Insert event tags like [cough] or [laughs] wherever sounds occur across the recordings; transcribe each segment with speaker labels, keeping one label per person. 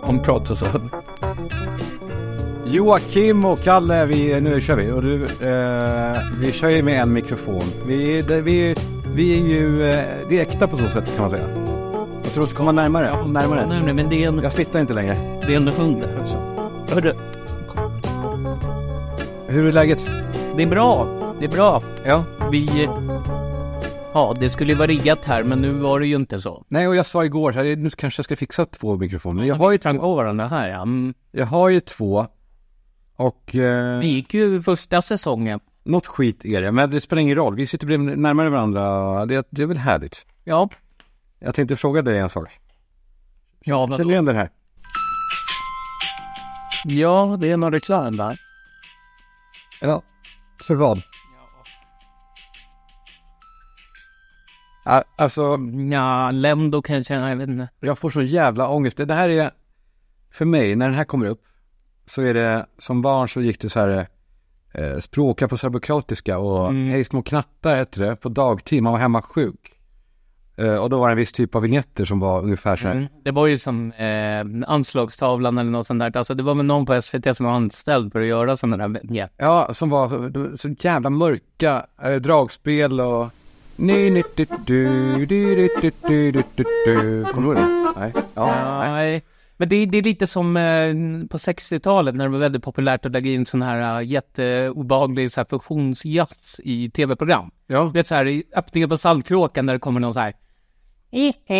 Speaker 1: Hon pratar så.
Speaker 2: Joakim och Kalle, vi, nu kör vi. Och du, eh, vi kör ju med en mikrofon. Vi, är- det, vi, vi är ju eh, direkta på så sätt kan man säga. Alltså då ska komma närmare.
Speaker 1: Ja,
Speaker 2: närmare.
Speaker 1: närmare, men det är en,
Speaker 2: Jag flyttar inte längre.
Speaker 1: det är en hund. Alltså. Hörru,
Speaker 2: Hur är läget?
Speaker 1: det är bra. Det är bra.
Speaker 2: Ja.
Speaker 1: Vi... eh, Ja, det skulle ju vara riggat här, men nu var det ju inte så.
Speaker 2: Nej, och jag sa igår, så här, nu kanske jag ska fixa två mikrofoner. Jag har ju,
Speaker 1: Tack vare varandra här, ja. Mm.
Speaker 2: jag har ju två. Och eh,
Speaker 1: Det gick ju första säsongen.
Speaker 2: något skit är det, men det spelar ingen roll. Vi sitter bredvid- närmare varandra. Det, det är väl härligt.
Speaker 1: Ja.
Speaker 2: Jag tänkte fråga dig en sak.
Speaker 1: Ja,
Speaker 2: Känner du igen den här?
Speaker 1: ja det är några reklam där.
Speaker 2: Ja. För vad? Ja, Alltså,
Speaker 1: Ja, Lemdo kanske, jag vet inte.
Speaker 2: jag får så jävla ångest. Det det här är, för mig, när den här kommer upp, så är det, som barn så gick det så här, eh, språka på serbokroatiska och Hej små knattar hette det, på dagtid, man var hemma sjuk. Eh, och då var det en viss typ av vignetter som var ungefär så här.
Speaker 1: Mm. Det var ju som eh, anslagstavlan eller något sånt där. Alltså det var väl någon på SVT som var anställd för att göra sådana där vignetter.
Speaker 2: Ja, som var de- så jävla mörka eh, dragspel och... Ni, ni, du, du, du, du, du, du, du, du, du. Kommer du ihåg det? Nej. Ja, nej.
Speaker 1: Nej. Men det, det är lite som eh, på 60-talet när det var väldigt populärt att lägga in sån här uh, jätteobehaglig så här, fusionsjazz i tv-program.
Speaker 2: Ja.
Speaker 1: Du vet så här i öppningen på Saltkråkan när det kommer någon så här [laughs]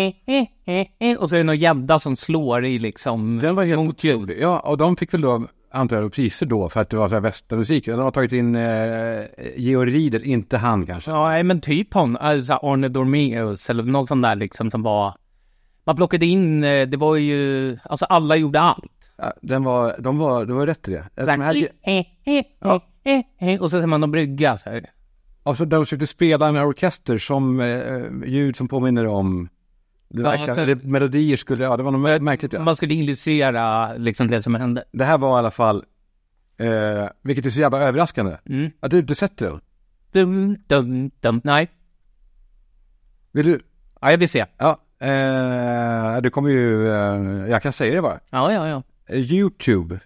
Speaker 1: och så är det någon gädda som slår i liksom
Speaker 2: Den var helt
Speaker 1: motljud.
Speaker 2: otrolig. Ja, och de fick väl då, antar jag, priser då för att det var så här västermusik. De har tagit in eh, Georg Rieder, inte han kanske.
Speaker 1: Ja, nej, men typ hon, alltså Arne Dormeus eller någon sån där liksom som var... Man plockade in, eh, det var ju, alltså alla gjorde allt.
Speaker 2: [laughs] Ja, Den var, de var, de var rätt i det. Att De här,
Speaker 1: Och så ser man någon brygga så här.
Speaker 2: alltså de försökte spela med orkester som eh, ljud som påminner om... Det
Speaker 1: Ja,
Speaker 2: verkar-
Speaker 1: så-
Speaker 2: eller melodier skulle, ja det var något märkligt. Ja.
Speaker 1: Man skulle illustrera liksom det som hände.
Speaker 2: Det här var i alla fall, eh, vilket är så jävla överraskande,
Speaker 1: Mm.
Speaker 2: att du inte sett den.
Speaker 1: Dum, dum, dum. Nej.
Speaker 2: Vill du?
Speaker 1: Ja, jag vill se.
Speaker 2: Ja, eh, du kommer ju, eh, jag kan säga det bara.
Speaker 1: Ja, ja, ja.
Speaker 2: Eh, Youtubes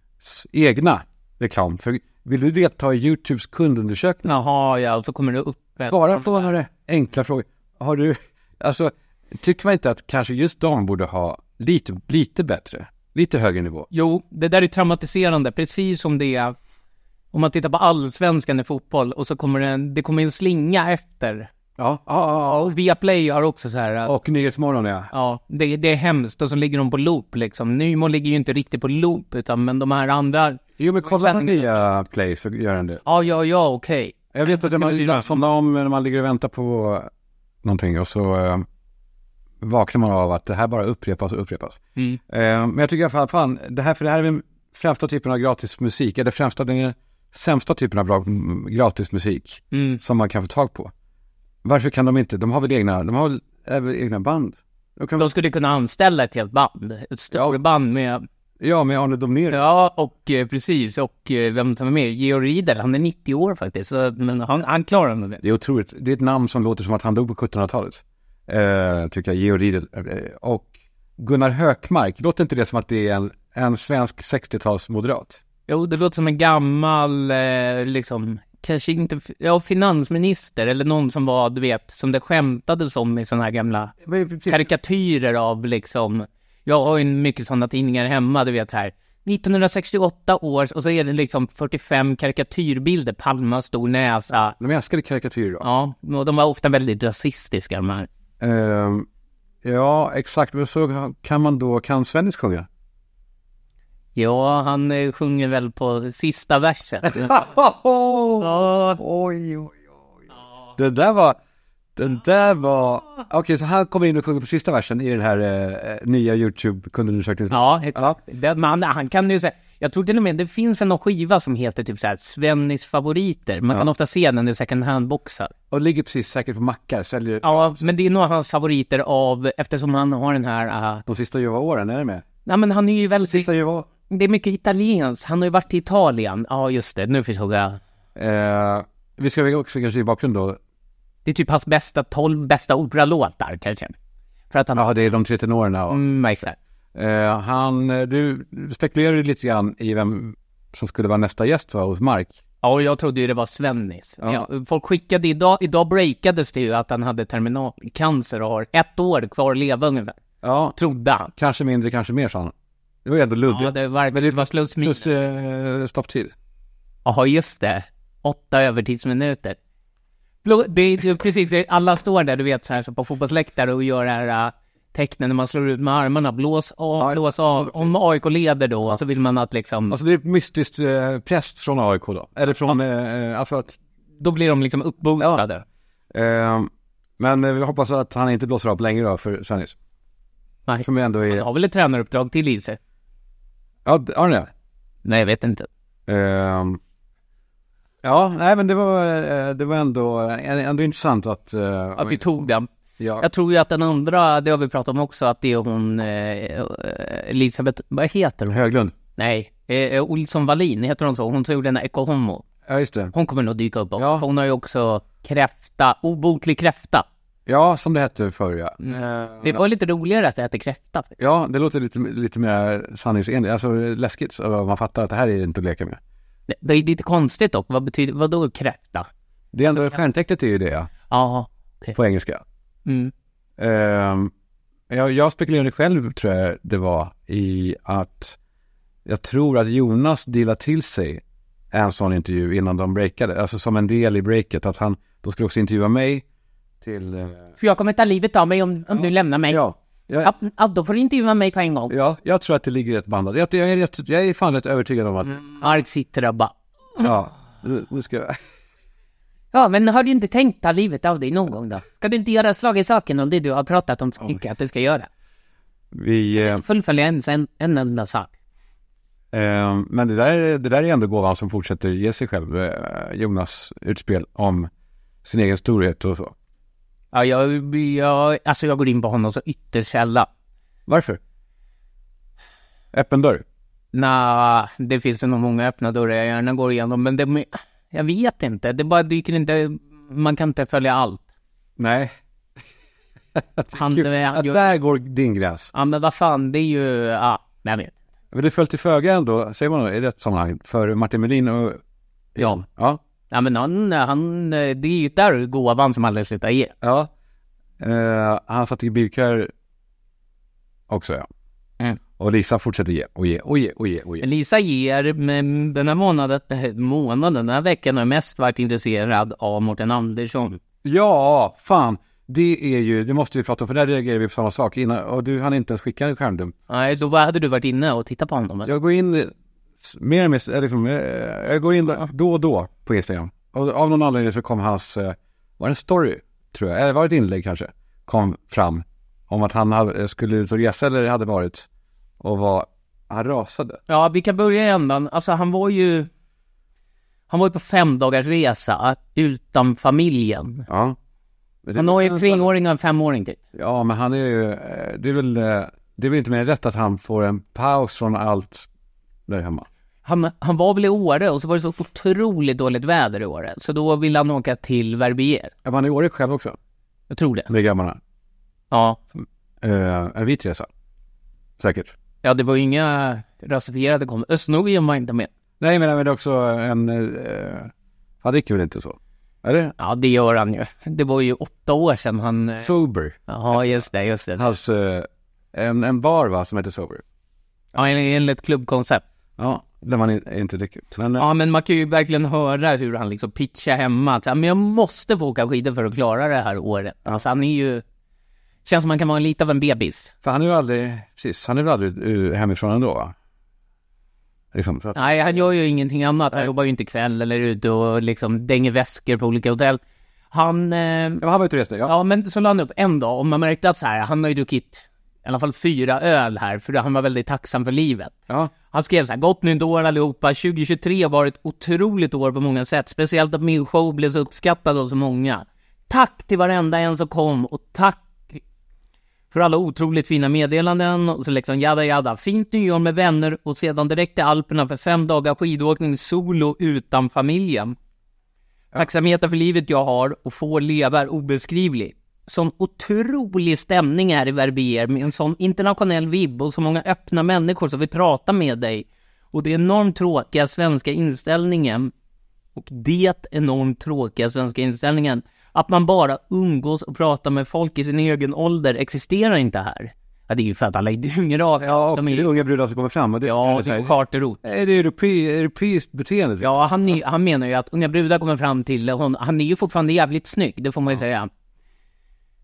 Speaker 2: egna reklam. För vill du delta i Youtubes kundundersökning?
Speaker 1: Jaha, ja, och så kommer det upp. en-
Speaker 2: Svara på några enkla frågor. Har du, alltså, tycker man inte att kanske just de borde ha lite, lite bättre, lite högre nivå?
Speaker 1: Jo, det där är traumatiserande, precis som det är om man tittar på allsvenskan i fotboll och så kommer det en, det kommer en slinga efter.
Speaker 2: Ja, ja,
Speaker 1: Ja, och Viaplay har också så här att
Speaker 2: ja. Och Nyhetsmorgon ja.
Speaker 1: Ja, det, det är hemskt. Och så ligger de på loop liksom. Nymon ligger ju inte riktigt på loop, utan men de här andra...
Speaker 2: Jo men kolla på nya Play så gör den det.
Speaker 1: Ja, ja, ja, okej.
Speaker 2: Jag vet att när man ibland somnar om när man ligger och väntar på någonting och så eh, vaknar man av att det här bara upprepas och upprepas.
Speaker 1: Mm.
Speaker 2: Eh, men jag tycker i alla fall, fan, det här, för det här är den främsta typen av gratis musik, eller främsta, den sämsta typen av bra, mm, gratis musik
Speaker 1: Mm.
Speaker 2: som man kan få tag på. Varför kan de inte, de har väl egna, de har väl även egna band? De kan,
Speaker 1: De skulle kunna anställa ett helt band. Ett större band med...
Speaker 2: ja, med Arne Domner.
Speaker 1: Ja, och eh, precis. Och eh, vem som är med? Georg Riedel, han är 90 år faktiskt. Så, men han, han klarar nog det.
Speaker 2: Det är otroligt. Det är ett namn som låter som att han dog på 1700-talet. Eh, tycker jag, Georg Riedel. Eh, och Gunnar Hökmark, låter inte det som att det är en, en svensk 60-talsmoderat?
Speaker 1: Jo, det låter som en gammal, eh, liksom... Kanske inte... f- Ja, finansminister eller någon som var, du vet, som det skämtades om i sådana här gamla... typ, karikatyrer av liksom, jag har ju mycket sådana tidningar hemma, du vet så här. 1968 års, och så är det liksom 45 karikatyrbilder, Palme har stor näsa.
Speaker 2: De älskade karikatyrer då.
Speaker 1: Ja, och de var ofta väldigt rasistiska de här.
Speaker 2: Eh, ja, exakt. Men så kan man då, kan Svennis sjunga?
Speaker 1: Ja, han eh, sjunger väl på sista versen. [laughs] Ja,
Speaker 2: Oj, oj, oj. Det där var, den där var, okej så han kommer in och sjunger på sista versen i den här eh, nya YouTube-kundundersökningen.
Speaker 1: ja, ett,
Speaker 2: Ja.
Speaker 1: Det, man, han kan ju säga, jag tror till och med det finns en skiva som heter typ så här, Svennis favoriter. Man kan ofta se den i second hand-boxar.
Speaker 2: Och ligger precis säkert på mackar, säljer
Speaker 1: Ja, men det är nog hans favoriter av, eftersom han har den här, eh,
Speaker 2: de sista ljuva åren, är det med?
Speaker 1: nej men han är ju väldigt...
Speaker 2: Sista ljuva åren.
Speaker 1: Det är mycket italienskt. Han har ju varit i Italien. Ja, just det. Nu förstod jag.
Speaker 2: Eh, vi ska väl också kanske i bakgrunden då.
Speaker 1: Det är typ hans bästa tolv bästa operalåtar kanske. För att han...
Speaker 2: Ja, det är de tre tenorerna. Och,
Speaker 1: Mm, exakt.
Speaker 2: Eh, han, eh, du spekulerade lite grann i vem som skulle vara nästa gäst va, hos Mark.
Speaker 1: Ja, och jag trodde ju det var Svennis.
Speaker 2: Ja.
Speaker 1: Ja. folk skickade idag, idag breakades det ju att han hade terminalcancer och har ett år kvar att leva ungefär.
Speaker 2: Ja,
Speaker 1: Trodde han.
Speaker 2: kanske mindre, kanske mer sa han. Det var ju ändå
Speaker 1: Ja,
Speaker 2: luddigt.
Speaker 1: det var, det var sluts minus.
Speaker 2: Plus eh, stopptid.
Speaker 1: Jaha, just det. Åtta övertidsminuter. Blå- Det är ju precis, det är- alla står där, du vet, så här, så på fotbollsläktare och gör det här äh, tecknen när man slår ut med armarna. Blås av,
Speaker 2: Ja,
Speaker 1: blås av. Om AIK leder då, så vill man att liksom,
Speaker 2: Alltså det är ett mystiskt eh, präst från AIK då. Eller från, eh, eh, alltså att
Speaker 1: då blir de liksom uppboostade.
Speaker 2: Ehm, men eh, vi hoppas att han inte blåser upp längre då för Svennis.
Speaker 1: Nej.
Speaker 2: Som ju ändå
Speaker 1: Man
Speaker 2: är...
Speaker 1: har väl ett tränaruppdrag till i sig?
Speaker 2: Ja, d- har han det?
Speaker 1: Nej, jag vet inte.
Speaker 2: Ehm, Ja, nej men det var, eh, det var ändå, eh, ändå intressant att... eh,
Speaker 1: Att vi tog den.
Speaker 2: ja,
Speaker 1: Jag tror ju att den andra, det har vi pratat om också, att det är hon eh, Elisabeth, vad heter hon?
Speaker 2: Höglund.
Speaker 1: Nej, eh, Olsson Wallin heter hon så? Hon som gjorde den här Ekohomo.
Speaker 2: Ja, just det.
Speaker 1: Hon kommer nog dyka upp också.
Speaker 2: Ja.
Speaker 1: för Hon har ju också kräfta, obotlig kräfta.
Speaker 2: Ja, som det hette förr ja.
Speaker 1: Mm.
Speaker 2: Eh,
Speaker 1: Det var lite roligare att det hette kräfta.
Speaker 2: Ja, det låter lite, lite mer sanningsenligt, alltså läskigt. Så man fattar att det här är inte att leka med.
Speaker 1: Det- Det är lite konstigt dock. Vad betyder, vad då kräfta?
Speaker 2: Det enda
Speaker 1: Alltså,
Speaker 2: stjärntecknet är ju det ja,
Speaker 1: Ja,
Speaker 2: på engelska.
Speaker 1: mm.
Speaker 2: Ehm, jag, jag spekulerade själv, tror jag det var, i att jag tror att Jonas dealade till sig en sån intervju innan de breakade. Alltså som en del i breaket, att han då skulle också intervjua mig till... eh,
Speaker 1: För jag kommer ta livet av mig om, om du lämnar mig.
Speaker 2: ja, jag,
Speaker 1: Ja, ja, då får du intervjua mig på en gång.
Speaker 2: ja, jag tror att det ligger rätt bandat. Jag, jag, är, rätt, jag är fan rätt övertygad om att...
Speaker 1: Ark sitter där och bara.
Speaker 2: Ja, nu- nu ska jag...
Speaker 1: Ja, men har du inte tänkt ta livet av dig någon gång då? Ska du inte göra slag i saken om det du har pratat om så mycket att du ska göra?
Speaker 2: Vi, eh,
Speaker 1: Fullfölja en, en, en enda sak.
Speaker 2: Eh, men det där, det där är ändå gåvan som fortsätter ge sig själv, eh, Jonas utspel om sin egen storhet och så.
Speaker 1: Ja, jag, jag, alltså jag går in på honom så ytterkälla.
Speaker 2: Varför? Öppen dörr.
Speaker 1: Nja, det finns nog många öppna dörrar jag gärna går igenom, men det, jag vet inte. Det bara dyker inte, man kan inte följa allt.
Speaker 2: Nej.
Speaker 1: Han, eh,
Speaker 2: Kul.
Speaker 1: Mm, han
Speaker 2: Att
Speaker 1: gör,
Speaker 2: där går din gräns.
Speaker 1: ja men vad fan, det är ju, ja, men jag vet.
Speaker 2: Men det föll till föga ändå, säger man då, i rätt sammanhang, för Martin Melin och...
Speaker 1: Ja.
Speaker 2: Ja.
Speaker 1: Ja men han, han, eh, det är ju där gåvan som aldrig slutar ge.
Speaker 2: Ja. Eh, han satt i bilkör också, ja.
Speaker 1: Mm.
Speaker 2: Och Lisa fortsätter ge och ge och ge och ge och ge.
Speaker 1: Lisa ger, men den här månaden, eh, månaden, den här veckan har jag mest varit intresserad av Mårten Andersson.
Speaker 2: Ja, fan. Det är ju, det måste vi prata om, för där reagerar vi på samma sak innan, och du hann inte ens skicka en skärmdump.
Speaker 1: Nej, då var- hade du varit inne och tittat på honom? eller?
Speaker 2: Jag går in eh, s- mer och mer, s- eller liksom, eh, jag går in då och då på Instagram. Och av någon anledning så kom hans, eh, var det en story tror jag, eller var det ett inlägg kanske, kom fram om att han hade, eh, skulle ut och resa eller hade varit och var, han rasade.
Speaker 1: Ja, vi kan börja i ändan. Alltså han var ju... Han var ju på fem dagars resa utan familjen.
Speaker 2: Ja. Men det-
Speaker 1: Han har ju en treåring och en femåring typ.
Speaker 2: Ja, men han är ju, eh, det är väl, eh, det är väl inte mer än rätt att han får en paus från allt där hemma.
Speaker 1: Han, han var väl i Åre och så var det så otroligt dåligt väder i Åre. Så då ville han åka till Verbier.
Speaker 2: Ja, men Han är i Åre själv också,
Speaker 1: Jag tror det.
Speaker 2: det är grabbarna.
Speaker 1: Ja.
Speaker 2: Eh, en vit resa. Säkert.
Speaker 1: Ja, det var ju inga rasifierade kom. Östnorge var inte med.
Speaker 2: Nej, men men det är också en... Eh, han dricker väl inte så? Eller?
Speaker 1: Ja, det gör han ju. Det var ju åtta år sedan han...
Speaker 2: Mm. Sober.
Speaker 1: Ja, just det, just det.
Speaker 2: Hans... Eh, en, en bar, va, som heter Sober.
Speaker 1: Ja, en- enligt klubbkoncept.
Speaker 2: Ja, där man in, inte dricker. Men, eh,
Speaker 1: Ja, men man kan ju verkligen höra hur han liksom pitchar hemma. Att, så här, men jag måste få åka skidor för att klara det här året. Alltså han är ju... Känns som han kan vara lite av en bebis.
Speaker 2: För han är ju aldrig... Precis, han är väl aldrig uh, hemifrån ändå, va? Liksom, så att,
Speaker 1: Nej, han gör ju ingenting annat. Han jobbar ju inte kväll eller är ute och liksom dänger väskor på olika hotell. Han... Eh,
Speaker 2: ja, han var ute och reste, ja.
Speaker 1: ja, men så la han upp en dag och man märkte att så här, han har ju druckit i alla fall fyra öl här för han var väldigt tacksam för livet.
Speaker 2: ja.
Speaker 1: Han skrev så här, gott nytt år allihopa, 2023 har varit ett otroligt år på många sätt, speciellt att min show blev så uppskattad av så många. Tack till varenda en som kom och tack för alla otroligt fina meddelanden och så liksom jada jada. Fint nyår med vänner och sedan direkt till Alperna för fem dagar skidåkning solo utan familjen. Tacksamheten för livet jag har och får leva är obeskrivlig. sån otrolig stämning här i Verbier med en sån internationell vibb och så många öppna människor som vill prata med dig. Och det enormt tråkiga svenska inställningen och det enormt tråkiga svenska inställningen att man bara umgås och pratar med folk i sin egen ålder existerar inte här. Ja, det är ju för att alla är dyngraka.
Speaker 2: Ja, och
Speaker 1: De är-
Speaker 2: det är unga brudar som kommer fram. Och det,
Speaker 1: Ja,
Speaker 2: är
Speaker 1: det
Speaker 2: så här,
Speaker 1: är charterrot.
Speaker 2: Nej, det är europe, europeiskt beteende.
Speaker 1: Ja, han, är, han menar ju att unga brudar kommer fram till hon, Han är ju fortfarande jävligt snygg, det får man ju säga.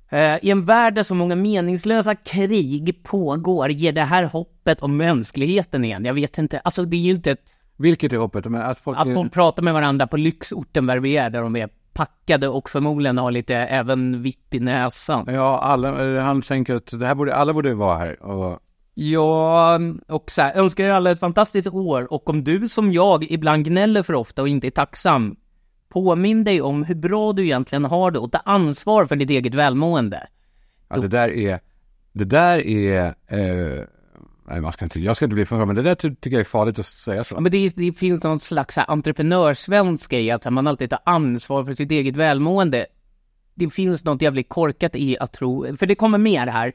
Speaker 1: Eh, I en värld där så många meningslösa krig pågår ger det här hoppet om mänskligheten igen. Jag vet inte, alltså det är ju inte ett,
Speaker 2: Vilket är hoppet? Men att folk,
Speaker 1: att
Speaker 2: är-
Speaker 1: folk pratar med varandra på lyxorten Verbier där de är packade och förmodligen har lite även vitt i näsan.
Speaker 2: Ja, alla, eh, han tänker att det här borde, alla borde vara här. Och,
Speaker 1: Ja, och så här, önskar er alla ett fantastiskt år och om du som jag ibland gnäller för ofta och inte är tacksam, påminn dig om hur bra du egentligen har det och ta ansvar för ditt eget välmående.
Speaker 2: ja, det där är, det där är, eh, nej man ska inte, jag ska inte bli för hård, men det där ty, tycker jag är farligt att säga
Speaker 1: Ja,
Speaker 2: så.
Speaker 1: men det, det finns någon slags så här entreprenörsvenska i att så här, man alltid tar ansvar för sitt eget välmående. Det finns något jävligt korkat i att tro, för det kommer mer här.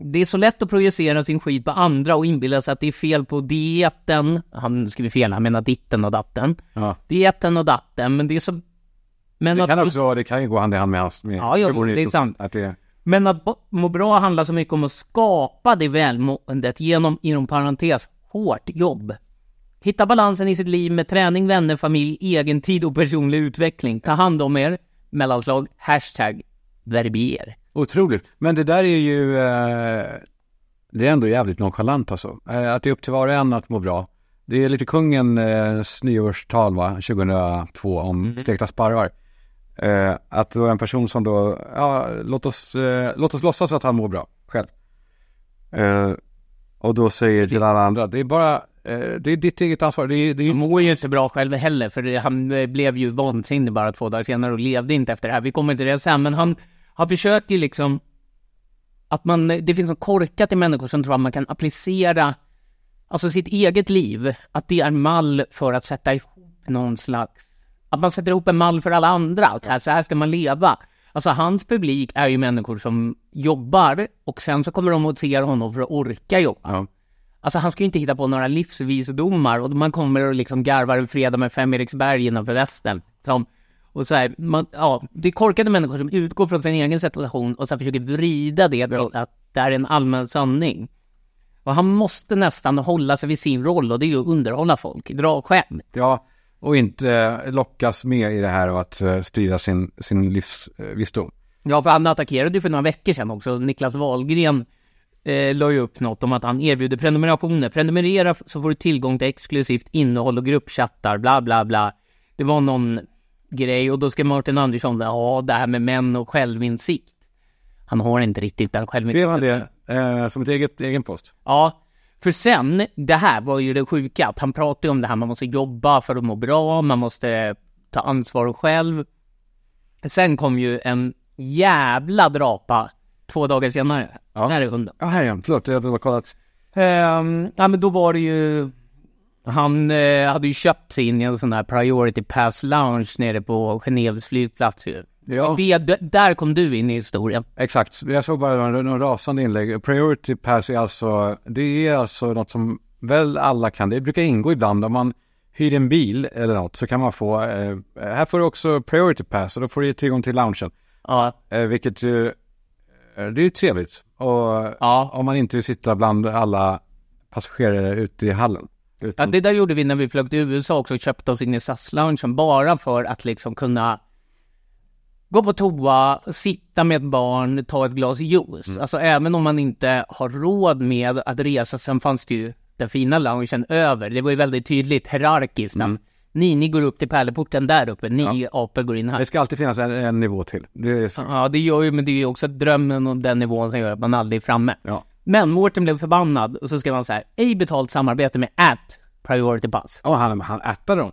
Speaker 1: Det är så lätt att projicera sin skit på andra och inbilla sig att det är fel på dieten. Han skriver fel, han menar ditten och datten.
Speaker 2: Ja.
Speaker 1: dieten och datten, men det är så... Men
Speaker 2: Det kan
Speaker 1: att,
Speaker 2: också, vara- det kan ju gå hand i hand med hans, med,
Speaker 1: Ja, ja,
Speaker 2: går
Speaker 1: det är
Speaker 2: inte-
Speaker 1: sant.
Speaker 2: Att det,
Speaker 1: men att bo- må bra handlar så mycket om att skapa det välmåendet genom, inom parentes, hårt jobb. Hitta balansen i sitt liv med träning, vänner, familj, egen tid och personlig utveckling. Ta hand om er. Mellanslag. Hashtag Verbier.
Speaker 2: otroligt. Men det där är ju, eh, det är ändå jävligt nonchalant alltså. Eh, att det är upp till var och en att må bra. Det är lite kungens nyårstal va, 2002 om stekta sparvar. Eh, att då en person som då, ja, låt oss, eh, låt oss låtsas att han mår bra själv. Eh, och då säger till alla andra, det är bara, eh, det är ditt eget ansvar. Det är, det är,
Speaker 1: Han mår ju inte bra själv heller, för det- han eh, blev ju vansinnig bara två dagar senare och levde inte efter det här. Vi kommer till det sen, men han, han försöker ju liksom... Att man, det finns något korkat i människor som tror att man kan applicera, alltså sitt eget liv, att det är mall för att sätta ihop någon slags... Att man sätter ihop en mall för alla andra, att så här, så här ska man leva. Alltså hans publik är ju människor som jobbar och sen så kommer de att se honom för att orka jobba.
Speaker 2: ja.
Speaker 1: Alltså han ska ju inte hitta på några livsvisdomar och man kommer och liksom garvar en fredag med fem Eriksberg innanför västen. Som, och så här, man, ja, det är korkade människor som utgår från sin egen situation och sen försöker vrida det till att det här är en allmän sanning. Och han måste nästan hålla sig vid sin roll och det är ju att underhålla folk, dra skämt.
Speaker 2: Ja, och inte eh, lockas med i det här av att eh, styra sin, sin eh, livsvisdom.
Speaker 1: Ja, för han attackerade ju för några veckor sedan också. Niklas Wahlgren eh, la ju upp något om att han erbjuder prenumerationer. Prenumerera f- så får du tillgång till exklusivt innehåll och gruppchattar, bla bla bla. Det var någon grej och då ska Martin Andersson, ja det här med män och självinsikt. Han har inte riktigt den självinsikten.
Speaker 2: Skrev han det eh, som ett eget, egen post?
Speaker 1: Ja, för sen, det här var ju det sjuka, att han pratade ju om det här, man måste jobba för att må bra, man måste ta ansvar själv. Sen kom ju en jävla drapa två dagar senare.
Speaker 2: Ja.
Speaker 1: När är hunden?
Speaker 2: Ja, här är han. Förlåt, jag har kollat.
Speaker 1: Ehm, ja men då var det ju... Han eh, hade ju köpt sig in i en sån där priority pass lounge nere på Genèves flygplats ju.
Speaker 2: Ja,
Speaker 1: Det, d- där kom du in i historien.
Speaker 2: exakt. Jag såg bara några, några rasande inlägg. Priority pass är alltså, det är alltså något som väl alla kan. Det brukar ingå ibland om man hyr en bil eller något så kan man få, eh, här får du också priority pass och då får du tillgång till loungen.
Speaker 1: Ja,
Speaker 2: Eh, vilket ju, eh, det är ju trevligt. Och
Speaker 1: ja.
Speaker 2: Om man inte vill sitta bland alla passagerare ute i hallen.
Speaker 1: Ja,
Speaker 2: Utan,
Speaker 1: det där gjorde vi när vi flög till USA också och köpte oss in i SAS-loungen bara för att liksom kunna gå på toa, sitta med ett barn, ta ett glas juice. Alltså även om man inte har råd med att resa, sen fanns det ju den fina loungen över. Det var ju väldigt tydligt hierarkiskt. att Ni, ni går upp till pärleporten där uppe, ni apor går in här.
Speaker 2: det ska alltid finnas en, en nivå till. Det är så.
Speaker 1: Ja, det gör ju, men det är ju också drömmen om den nivån som gör att man aldrig är framme.
Speaker 2: Ja.
Speaker 1: Men Mårten blev förbannad och så skrev han så här, ej betalt samarbete med at priority pass.
Speaker 2: Ja, han, han ätade dem.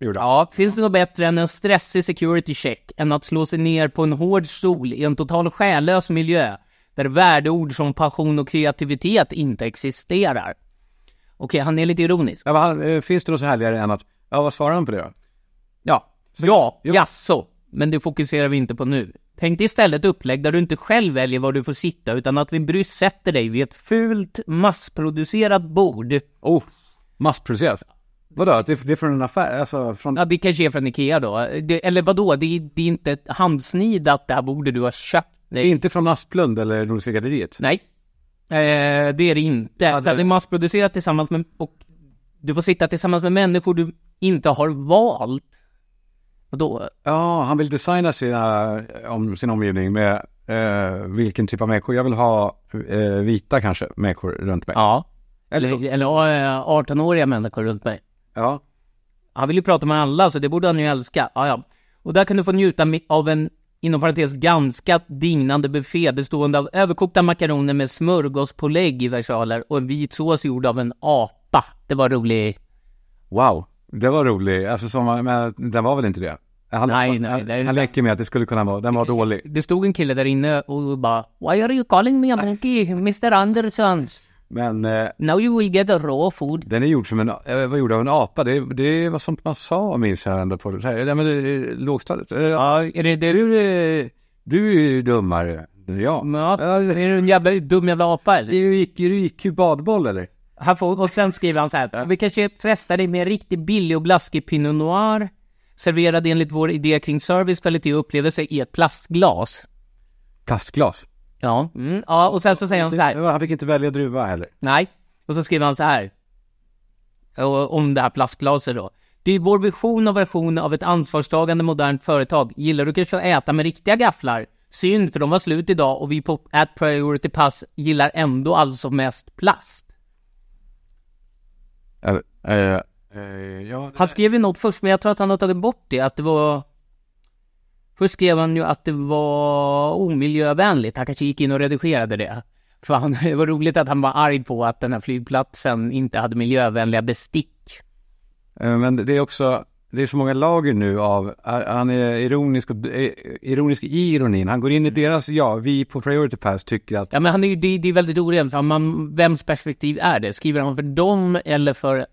Speaker 2: Gjorde han.
Speaker 1: Ja, finns det något bättre än en stressig security check än att slå sig ner på en hård stol i en total själlös miljö där värdeord som passion och kreativitet inte existerar? Okej, han är lite ironisk.
Speaker 2: Ja, men han, eh, finns det något så härligare än att, ja vad svarar han på det då?
Speaker 1: Ja, ja,
Speaker 2: Jo.
Speaker 1: jaså, men det fokuserar vi inte på nu. Tänk dig istället ett upplägg där du inte själv väljer var du får sitta utan att vi bryst sätter dig vid ett fult massproducerat bord.
Speaker 2: Oh, massproducerat. Vadå, att det, det är från en affär? Alltså från...
Speaker 1: Ja, det kanske är från Ikea då. Det, eller vadå, det, är- det är inte ett handsnidat det här bordet du har köpt dig.
Speaker 2: Inte från Asplund eller Nordiska galleriet?
Speaker 1: Nej. Eh, det är det inte.
Speaker 2: Ja, det-
Speaker 1: det... det är massproducerat tillsammans med... Och du får sitta tillsammans med människor du inte har valt. Och då...
Speaker 2: Ja, han vill designa sina, eh, om, sin omgivning med eh, vilken typ av människor. Jag vill ha eh, vita kanske, människor runt mig.
Speaker 1: Ja.
Speaker 2: Eller så.
Speaker 1: Eller, eller eh, 18-åriga människor runt mig.
Speaker 2: Ja.
Speaker 1: Han vill ju prata med alla, så det borde han ju älska. Ja, ja. Och där kan du få njuta mi- av en, inom parentes, ganska dignande buffé bestående av överkokta makaroner med smörgåspålägg i versaler och en vit sås gjord av en apa. Det var rolig...
Speaker 2: Wow, det var rolig. Alltså, som, men den var väl inte det? Han,
Speaker 1: Nej,
Speaker 2: han,
Speaker 1: nej,
Speaker 2: han,
Speaker 1: det är
Speaker 2: han
Speaker 1: inte-
Speaker 2: leker med att det skulle kunna vara, den var dålig.
Speaker 1: Det stod en kille där inne och bara Why are you calling me a monkey, Mr Anderson?
Speaker 2: Men eh,
Speaker 1: Now you will get a raw food.
Speaker 2: den är gjord som en, eh, var gjord av en apa. Det, det var sånt man sa, minns jag ändå på så här, ja, men, eh, lågstadiet. Eh,
Speaker 1: Ja, är det, det,
Speaker 2: Du, eh, du är ju dummare än jag.
Speaker 1: ja, är du en jävla dum jävla apa eller?
Speaker 2: Du gick, du gick ju badboll eller?
Speaker 1: Han får, och sen skriver han så här. Vi kanske frestar dig med en riktigt billig och blaskig Pinot Noir. Serverad enligt vår idé kring service, kvalitet och upplevelse i ett plastglas.
Speaker 2: Plastglas.
Speaker 1: Ja. Mm, ja, och sen så säger han så här.
Speaker 2: Det var- Han fick inte välja druva heller.
Speaker 1: Nej. Och så skriver han så här. Och- Om det här plastglaset då. Det är vår vision och version av ett ansvarstagande modernt företag. Gillar du kanske att äta med riktiga gafflar? Synd, för de var slut idag och vi på At Priority Pass gillar ändå alltså mest plast.
Speaker 2: Eller, eh, eh, ja,
Speaker 1: Han skrev ju något först, men jag tror att han har tagit bort det, att det var... Först skrev han ju att det var omiljövänligt, han kanske gick in och redigerade det. För han, [laughs] det var roligt att han var arg på att den här flygplatsen inte hade miljövänliga bestick.
Speaker 2: eh, men det är också, det är så många lager nu av, eh, han är ironisk, och, eh, ironisk i ironin. Han går in i deras, ja, vi på Priority Pass tycker att
Speaker 1: Mm. Ja men han är ju, det, det är väldigt orent, för man, vems perspektiv är det? Skriver han för dem eller för...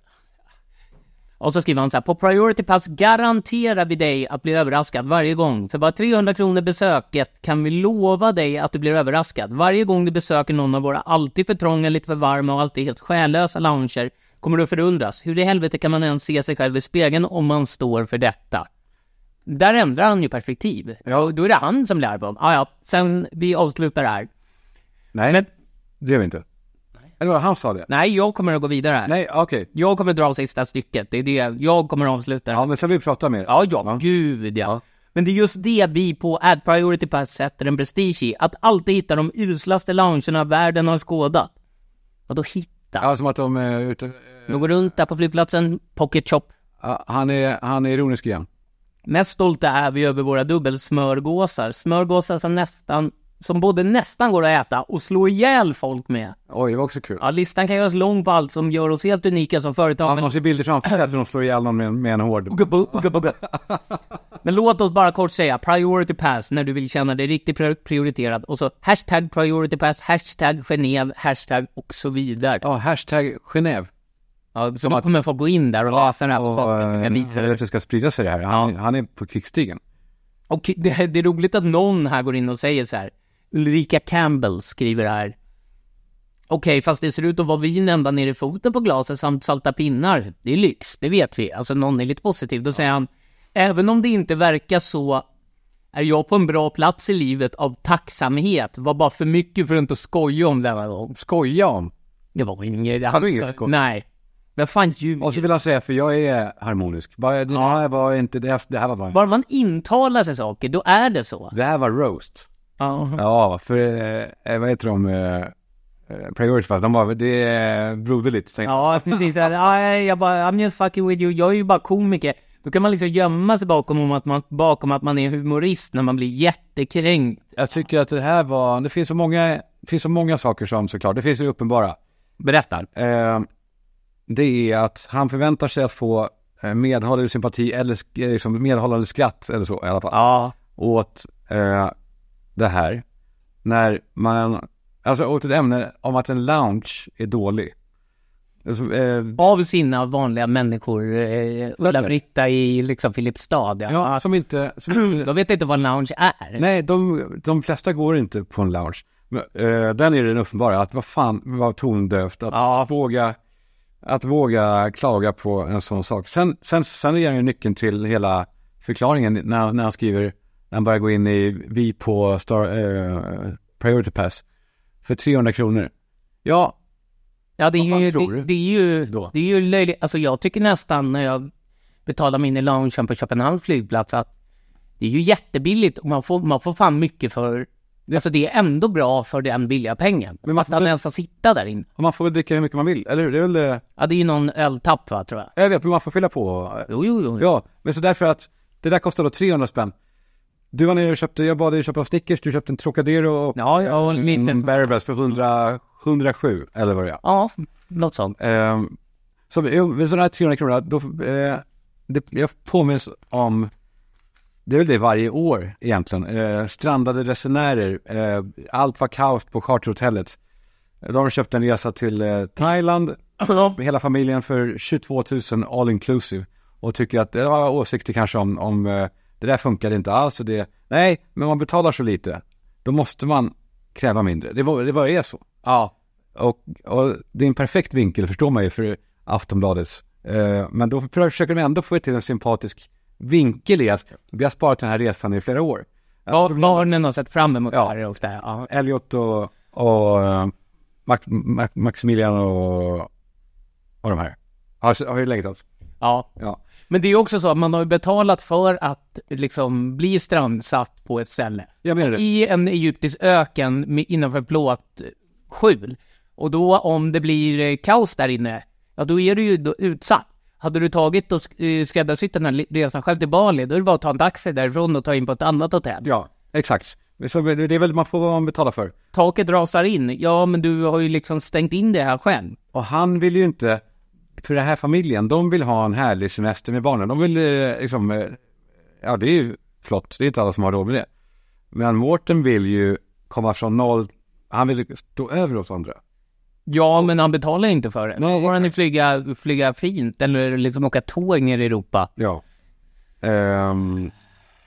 Speaker 1: Och så skriver han så här, på Priority Pass garanterar vi dig att bli överraskad varje gång. För bara 300 kronor besöket kan vi lova dig att du blir överraskad. Varje gång du besöker någon av våra alltid för trånga, lite för varma och alltid helt själlösa lounger kommer du förundras. Hur i helvete kan man ens se sig själv i spegeln om man står för detta? Där ändrar han ju perspektiv.
Speaker 2: Ja.
Speaker 1: Och då är det han som blir arg på honom. Ah, ja, sen vi avslutar det här.
Speaker 2: nej, det gör vi inte. Eller vad, han sa det?
Speaker 1: Nej, jag kommer att gå vidare här.
Speaker 2: Nej, okej.
Speaker 1: Jag kommer dra sista stycket. Det är det. Jag kommer att avsluta.
Speaker 2: Ja,
Speaker 1: Ja,
Speaker 2: men sen vill vi prata mer.
Speaker 1: ja, ja. gud ja. Men det är just det vi på Ad Priority Pass sätter en prestige i. Att alltid hitta de uslaste loungerna världen har skådat. Vadå hitta?
Speaker 2: Ja, som att de är ute, eh,
Speaker 1: De går runt där på flygplatsen, pocket shop.
Speaker 2: ja, han, är, han är ironisk igen.
Speaker 1: Mest stolta är vi över våra dubbelsmörgåsar. Smörgåsar som nästan, som både nästan går att äta och slå ihjäl folk med.
Speaker 2: Oj, det var också kul.
Speaker 1: Ja, listan kan göras lång på allt som gör oss helt unika som företag. men-
Speaker 2: Man ser bilder framför sig att de slår ihjäl någon med, en- med en hård.
Speaker 1: Ugga bu-
Speaker 2: [laughs]
Speaker 1: ugga bugga. Men låt oss bara kort säga priority pass när du vill känna dig riktigt prior- prioriterad och så hashtag priority pass, hashtag Genève, hashtag och så vidare.
Speaker 2: Ja, hashtag Genève.
Speaker 1: Ja, så då kommer folk gå in där och läsa den här på
Speaker 2: Och,
Speaker 1: Facebook.
Speaker 2: eh,
Speaker 1: Jag visar
Speaker 2: för att
Speaker 1: det.
Speaker 2: det ska sprida sig det här. Han, han är på krigsstigen.
Speaker 1: Och det, det är roligt att någon här går in och säger så här. Ulrika Campbell skriver här. Okej, fast det ser ut att vara vin ända ner i foten på glaset samt salta pinnar. Det är lyx, det vet vi. Alltså någon är lite positiv. Då säger han, även om det inte verkar så är jag på en bra plats i livet av tacksamhet. Var bara för mycket för att inte skoja om denna gång.
Speaker 2: Skoja om.
Speaker 1: Det var inget...
Speaker 2: var inget skoj.
Speaker 1: Nej. Vem fan ljuger?
Speaker 2: Och så vill han säga, för jag är harmonisk. Bara, det här var inte, det här, det här var bara,
Speaker 1: Bara man intalar sig saker, då är det så.
Speaker 2: det här var roast.
Speaker 1: Ja.
Speaker 2: Ja, för, eh, vad heter de, eh, eh, Priority Fast, de var, det är broderligt. Ja.
Speaker 1: Ja, precis. Ja, nej, jag bara, I'm just fucking with you. Jag är ju bara komiker. Då kan man liksom gömma sig bakom, om att, man, bakom att man är humorist när man blir jättekränkt.
Speaker 2: Jag tycker att det här var, det finns så många, det finns så många saker som såklart, det finns det uppenbara.
Speaker 1: Berättar.
Speaker 2: Eh, det är att han förväntar sig att få eh, medhåll eller sympati eller sk- eh, liksom medhållande skratt eller så i alla fall.
Speaker 1: Ja.
Speaker 2: åt eh, det här. När man, alltså åt ett ämne om att en lounge är dålig. Alltså, eh,
Speaker 1: Av sina vanliga människor, eh, Ulla-Britta i liksom Filipstad, ja.
Speaker 2: ja, som inte... Som inte
Speaker 1: De vet inte vad en lounge är.
Speaker 2: Nej, de, de flesta går inte på en lounge. Men, eh, den är den uppenbara, att vad fan vad tondövt att,
Speaker 1: Ja.
Speaker 2: våga, att våga klaga på en sån sak. Sen, sen, sen ger han ju nyckeln till hela förklaringen när, när han skriver, när han börjar gå in i vi på Star, eh, Priority Pass för 300 kronor. Ja,
Speaker 1: Ja, det
Speaker 2: Vad
Speaker 1: är
Speaker 2: fan
Speaker 1: ju,
Speaker 2: tror
Speaker 1: det,
Speaker 2: du
Speaker 1: det är ju,
Speaker 2: då?
Speaker 1: det är ju löjligt. Alltså jag tycker nästan när jag betalar mig in i loungen på Köpenhamns flygplats att det är ju jättebilligt och man får, man får fan mycket för, alltså det är ändå bra för den billiga pengen.
Speaker 2: Men man
Speaker 1: att
Speaker 2: får
Speaker 1: han
Speaker 2: väl-
Speaker 1: ens får sitta där inne.
Speaker 2: och man får väl dricka hur mycket man vill, eller hur? Det är väl det,
Speaker 1: Ja, det är ju någon öltapp va, tror jag.
Speaker 2: jag vet, men man får fylla på eh,
Speaker 1: Jo, jo, jo.
Speaker 2: Ja, men så därför att det där kostar då 300 spänn. Du var nere och köpte, jag bad dig köpa Snickers, du köpte en Trocadero och
Speaker 1: Ja, ja, och lite-
Speaker 2: en Barabas för 100, 107 eller vad det är.
Speaker 1: Ja, något sånt.
Speaker 2: Ehm, så med med sådana här 300 kronor, då, eh, det, jag påminns om, det är väl det varje år egentligen, eh, strandade resenärer, eh, allt var kaos på charterhotellet. Då har de köpt en resa till eh, Thailand, med hela familjen för 22 000 all inclusive och tycker att det har åsikter kanske om, om eh, det där funkade inte alls och det, nej, men man betalar så lite, då måste man kräva mindre. Det var, det var är så.
Speaker 1: Ja.
Speaker 2: Och, och det är en perfekt vinkel förstår man ju för Aftonbladets. Eh, men då försöker de ändå få till en sympatisk vinkel i att vi har sparat den här resan i flera år.
Speaker 1: Ja, barnen har sett fram emot
Speaker 2: Ja.
Speaker 1: det här och det här. Ja.
Speaker 2: Elliot och, och eh, Mac, Mac, Maximilian och, och de här har, har ju längtat.
Speaker 1: ja.
Speaker 2: Ja.
Speaker 1: Men det är ju också så att man har ju betalat för att liksom bli strandsatt på ett ställe.
Speaker 2: Jag menar det.
Speaker 1: i en egyptisk öken med, innanför plåtskjul. Och då om det blir eh, kaos där inne, ja då är du ju då utsatt. Hade du tagit och sk- eh, skräddarsytt den här li- resan själv till Bali, då är det bara att ta en taxi därifrån och ta in på ett annat hotell.
Speaker 2: Ja, exakt. Så det det är väl, man får vad man betalar för.
Speaker 1: Taket rasar in, ja men du har ju liksom stängt in det här själv.
Speaker 2: Och han vill ju inte, för den här familjen, de vill ha en härlig semester med barnen. De vill eh, liksom, eh, ja det är ju flott, det är inte alla som har råd med det. Men Mårten vill ju komma från noll, han vill stå över oss andra.
Speaker 1: Ja, men han betalar ju inte för det.
Speaker 2: Nej,
Speaker 1: Då får han ju flyga, flyga fint eller liksom åka tåg ner i Europa.
Speaker 2: Ja. Ehm,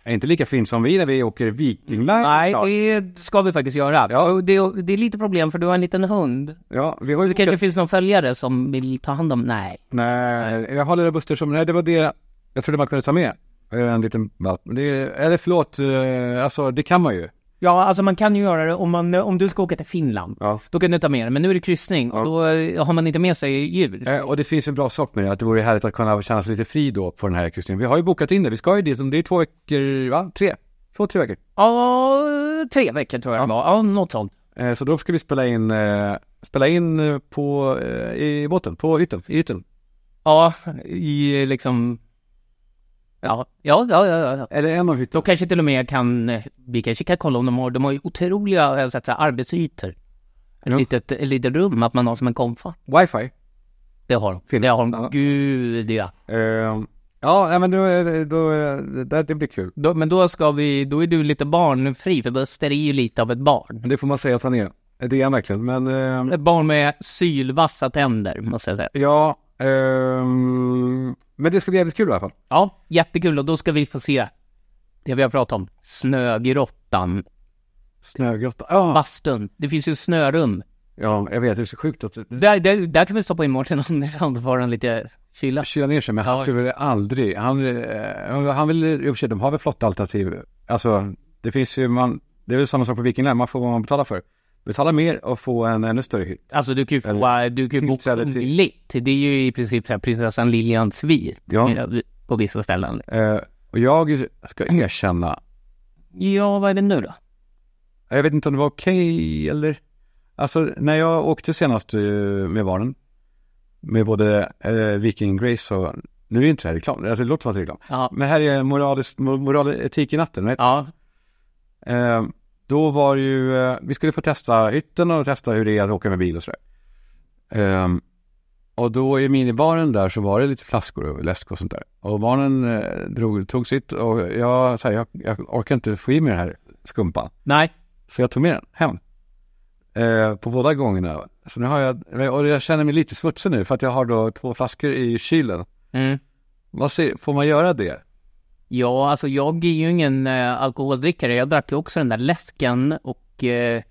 Speaker 2: är inte lika fint som vi när vi åker Viking Line
Speaker 1: Nej,
Speaker 2: snart.
Speaker 1: det ska vi faktiskt göra.
Speaker 2: Ja.
Speaker 1: Och Det, det är lite problem för du har en liten hund.
Speaker 2: Ja, vi har ju
Speaker 1: Det kanske finns någon följare som vill ta hand om, nej.
Speaker 2: Nej, jag har Lilla Buster som, nej det var det jag trodde man kunde ta med. En liten valp. Men Det, eller förlåt, eh, alltså det kan man ju.
Speaker 1: Ja, alltså man kan ju göra det om man, om du ska åka till Finland.
Speaker 2: Ja.
Speaker 1: Då kan du ta med det, men nu är det kryssning och då eh, har man inte med sig djur.
Speaker 2: Eh, Och det finns en bra sak med det, att det vore härligt att kunna känna sig lite fri då på den här kryssningen. Vi har ju bokat in det, vi ska ju dit om det är två veckor, va? Tre? Två, tre veckor.
Speaker 1: Ja, tre veckor tror jag det var. Ja, något sånt.
Speaker 2: Eh, Så då ska vi spela in, eh, spela in eh, på, eh, i båten, på ytten, i ytten.
Speaker 1: Ja, i eh, liksom... Ja, ja, ja, ja, ja. ja.
Speaker 2: Eller en av hytten.
Speaker 1: Då kanske till och med kan, eh, vi kanske kan kolla om de har, de har ju otroliga, jag har sett så här, arbetsytor. Ett
Speaker 2: Ja.
Speaker 1: litet, ett litet rum att man har som en komfa.
Speaker 2: Wifi.
Speaker 1: Det har de.
Speaker 2: Fin.
Speaker 1: Det har de.
Speaker 2: Ja.
Speaker 1: Gud ja.
Speaker 2: Eh, Ja, nej, men då, eh, då, eh, det, det blir kul.
Speaker 1: Då, men då ska vi, då är du lite barnfri, för Buster är ju lite av ett barn.
Speaker 2: Det får man säga att han är. Det är han verkligen, men eh,
Speaker 1: Ett barn med sylvassa tänder, måste jag säga.
Speaker 2: Ja, ehm, men det ska bli jävligt kul i alla fall.
Speaker 1: Ja, jättekul och då ska vi få se det vi har pratat om. Snögrottan,
Speaker 2: Snögrotta. Ja,
Speaker 1: bastun. Det finns ju snörum.
Speaker 2: ja, jag vet. Det är så sjukt att
Speaker 1: Där, där, där kan vi stoppa in Mårten Andersson och få han lite kyla.
Speaker 2: kyla ner sig, men han skulle väl aldrig, han, eh, han vill, i och för sig, de har väl flotta alternativ. Alltså, det finns ju, man, det är väl samma sak på Viking Line, man får vad man betalar för. Betala mer och få en ännu större hytt.
Speaker 1: Alltså du kan ju få, du kan ju bo
Speaker 2: Tillträde till-
Speaker 1: kungligt. Det är ju i princip så här prinsessan Lilians svit
Speaker 2: Ja.
Speaker 1: eh, på vissa ställen.
Speaker 2: Eh, och jag ska erkänna,
Speaker 1: Ja, vad är det nu då?
Speaker 2: jag vet inte om det var okej eller, alltså när jag åkte senast eh, med barnen, med både eh, Viking Grace och, nu är det inte det här reklam, alltså det låter som att det är reklam.
Speaker 1: Ja,
Speaker 2: Men här är moralisk, mor- moral, etik i natten. vet du?
Speaker 1: ja,
Speaker 2: Eh, då var det ju, eh, vi skulle få testa hytten och testa hur det är att åka med bil och sådär. Eh, och då i minibaren där så var det lite flaskor och läsk och sånt där. Och barnen eh, drog, tog sitt och jag, så här, jag, jag orkar inte få i mig den här skumpan.
Speaker 1: nej.
Speaker 2: Så jag tog med den hem. Eh, på båda gångerna. Så nu har jag, och jag känner mig lite smutsig nu för att jag har då två flaskor i kylen.
Speaker 1: Mm.
Speaker 2: Vad ser, får man göra det?
Speaker 1: Ja, alltså jag är ju ingen eh, alkoholdrickare. Jag drack ju också den där läsken och eh,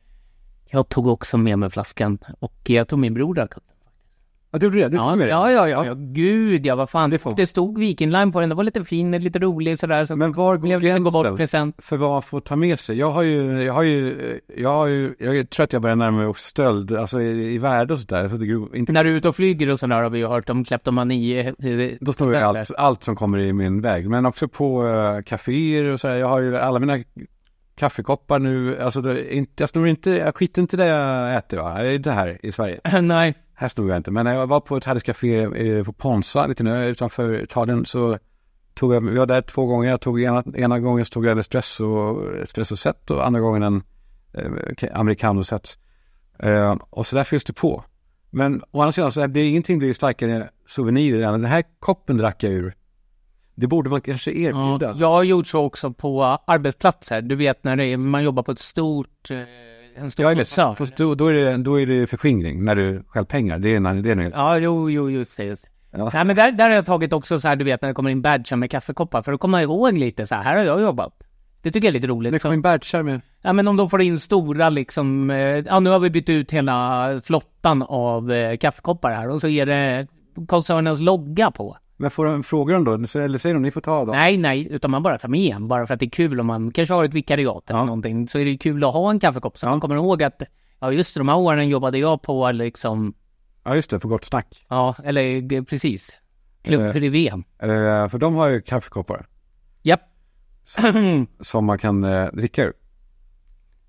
Speaker 1: jag tog också med mig flaskan. Och jag tog min bror drack upp den.
Speaker 2: Ja, du gjorde det? Du tog
Speaker 1: Ja,
Speaker 2: med det?
Speaker 1: ja, ja, ja, ja. Gud ja, vad fan.
Speaker 2: Det
Speaker 1: Det,
Speaker 2: får man.
Speaker 1: stod Viking Line på den. Det var lite fin, lite rolig sådär. Så
Speaker 2: Men var går
Speaker 1: blev det en gå bort
Speaker 2: gränsen
Speaker 1: present.
Speaker 2: för vad man får ta med sig? Jag har ju, jag har ju, eh, jag har ju, jag tror att jag börjar närma mig också stöld, alltså i, i värde och sådär. Så det, går inte,
Speaker 1: När du är ute och flyger och sådär har vi ju hört om kleptomani. eh,
Speaker 2: då snor jag allt, allt som kommer i min väg. Men också på uh, kaféer och sådär. Jag har ju alla mina kaffekoppar nu, alltså det, är inte, jag snor inte, jag skiter inte i det jag äter va? Det är inte här i Sverige.
Speaker 1: eh, [clears throat] Nej.
Speaker 2: Här stod jag inte, men när jag var på ett härligt café eh, på Ponsa, lite nu utanför Italien, så tog jag, vi var där två gånger, jag tog ena, ena gången så tog jag en espresso, espresso set och andra gången en eh, americano set. Eh, och så där fylls det på. Men å andra sidan, så är det, ingenting blir ju starkare än souvenirer än den här koppen drack jag ur. Det borde man kanske
Speaker 1: Ja,
Speaker 2: erbjuda.
Speaker 1: jag har gjort så också på arbetsplatser. Du vet när det är, man jobbar på ett stort... eh, En stor
Speaker 2: jag är
Speaker 1: koncern.
Speaker 2: ledsen, fast då, då, är det, då är det förskingring när du stjäl pengar. Det är, en- det är en,
Speaker 1: Ja, jo, jo, just det, just det.
Speaker 2: Ja.
Speaker 1: Nej, men där, där har jag tagit också så här, du vet, när det kommer in badgar med kaffekoppar, för att komma ihåg lite så här, här har jag jobbat. Det tycker jag är lite roligt.
Speaker 2: det kom en badge med
Speaker 1: Ja, men om de får in stora liksom, eh, ja nu har vi bytt ut hela flottan av eh, kaffekoppar här och så är det koncernens logga på.
Speaker 2: Men får de, frågar de då? Så- Eller säger de, ni får ta dem?
Speaker 1: Nej, nej, utan man bara tar med en bara för att det är kul om man kanske har ett vikariat eller
Speaker 2: Ja.
Speaker 1: någonting. Så är det ju kul att ha en kaffekopp så man kommer ihåg att, ja just det, de här åren jobbade jag på liksom,
Speaker 2: Ja, just det, på Gott Snack.
Speaker 1: ja, eller eh, precis,
Speaker 2: Eh.
Speaker 1: Klubb Privé.
Speaker 2: Eh, för de har ju kaffekoppar
Speaker 1: Japp.
Speaker 2: som man kan eh, dricka ur.
Speaker 1: [clears throat]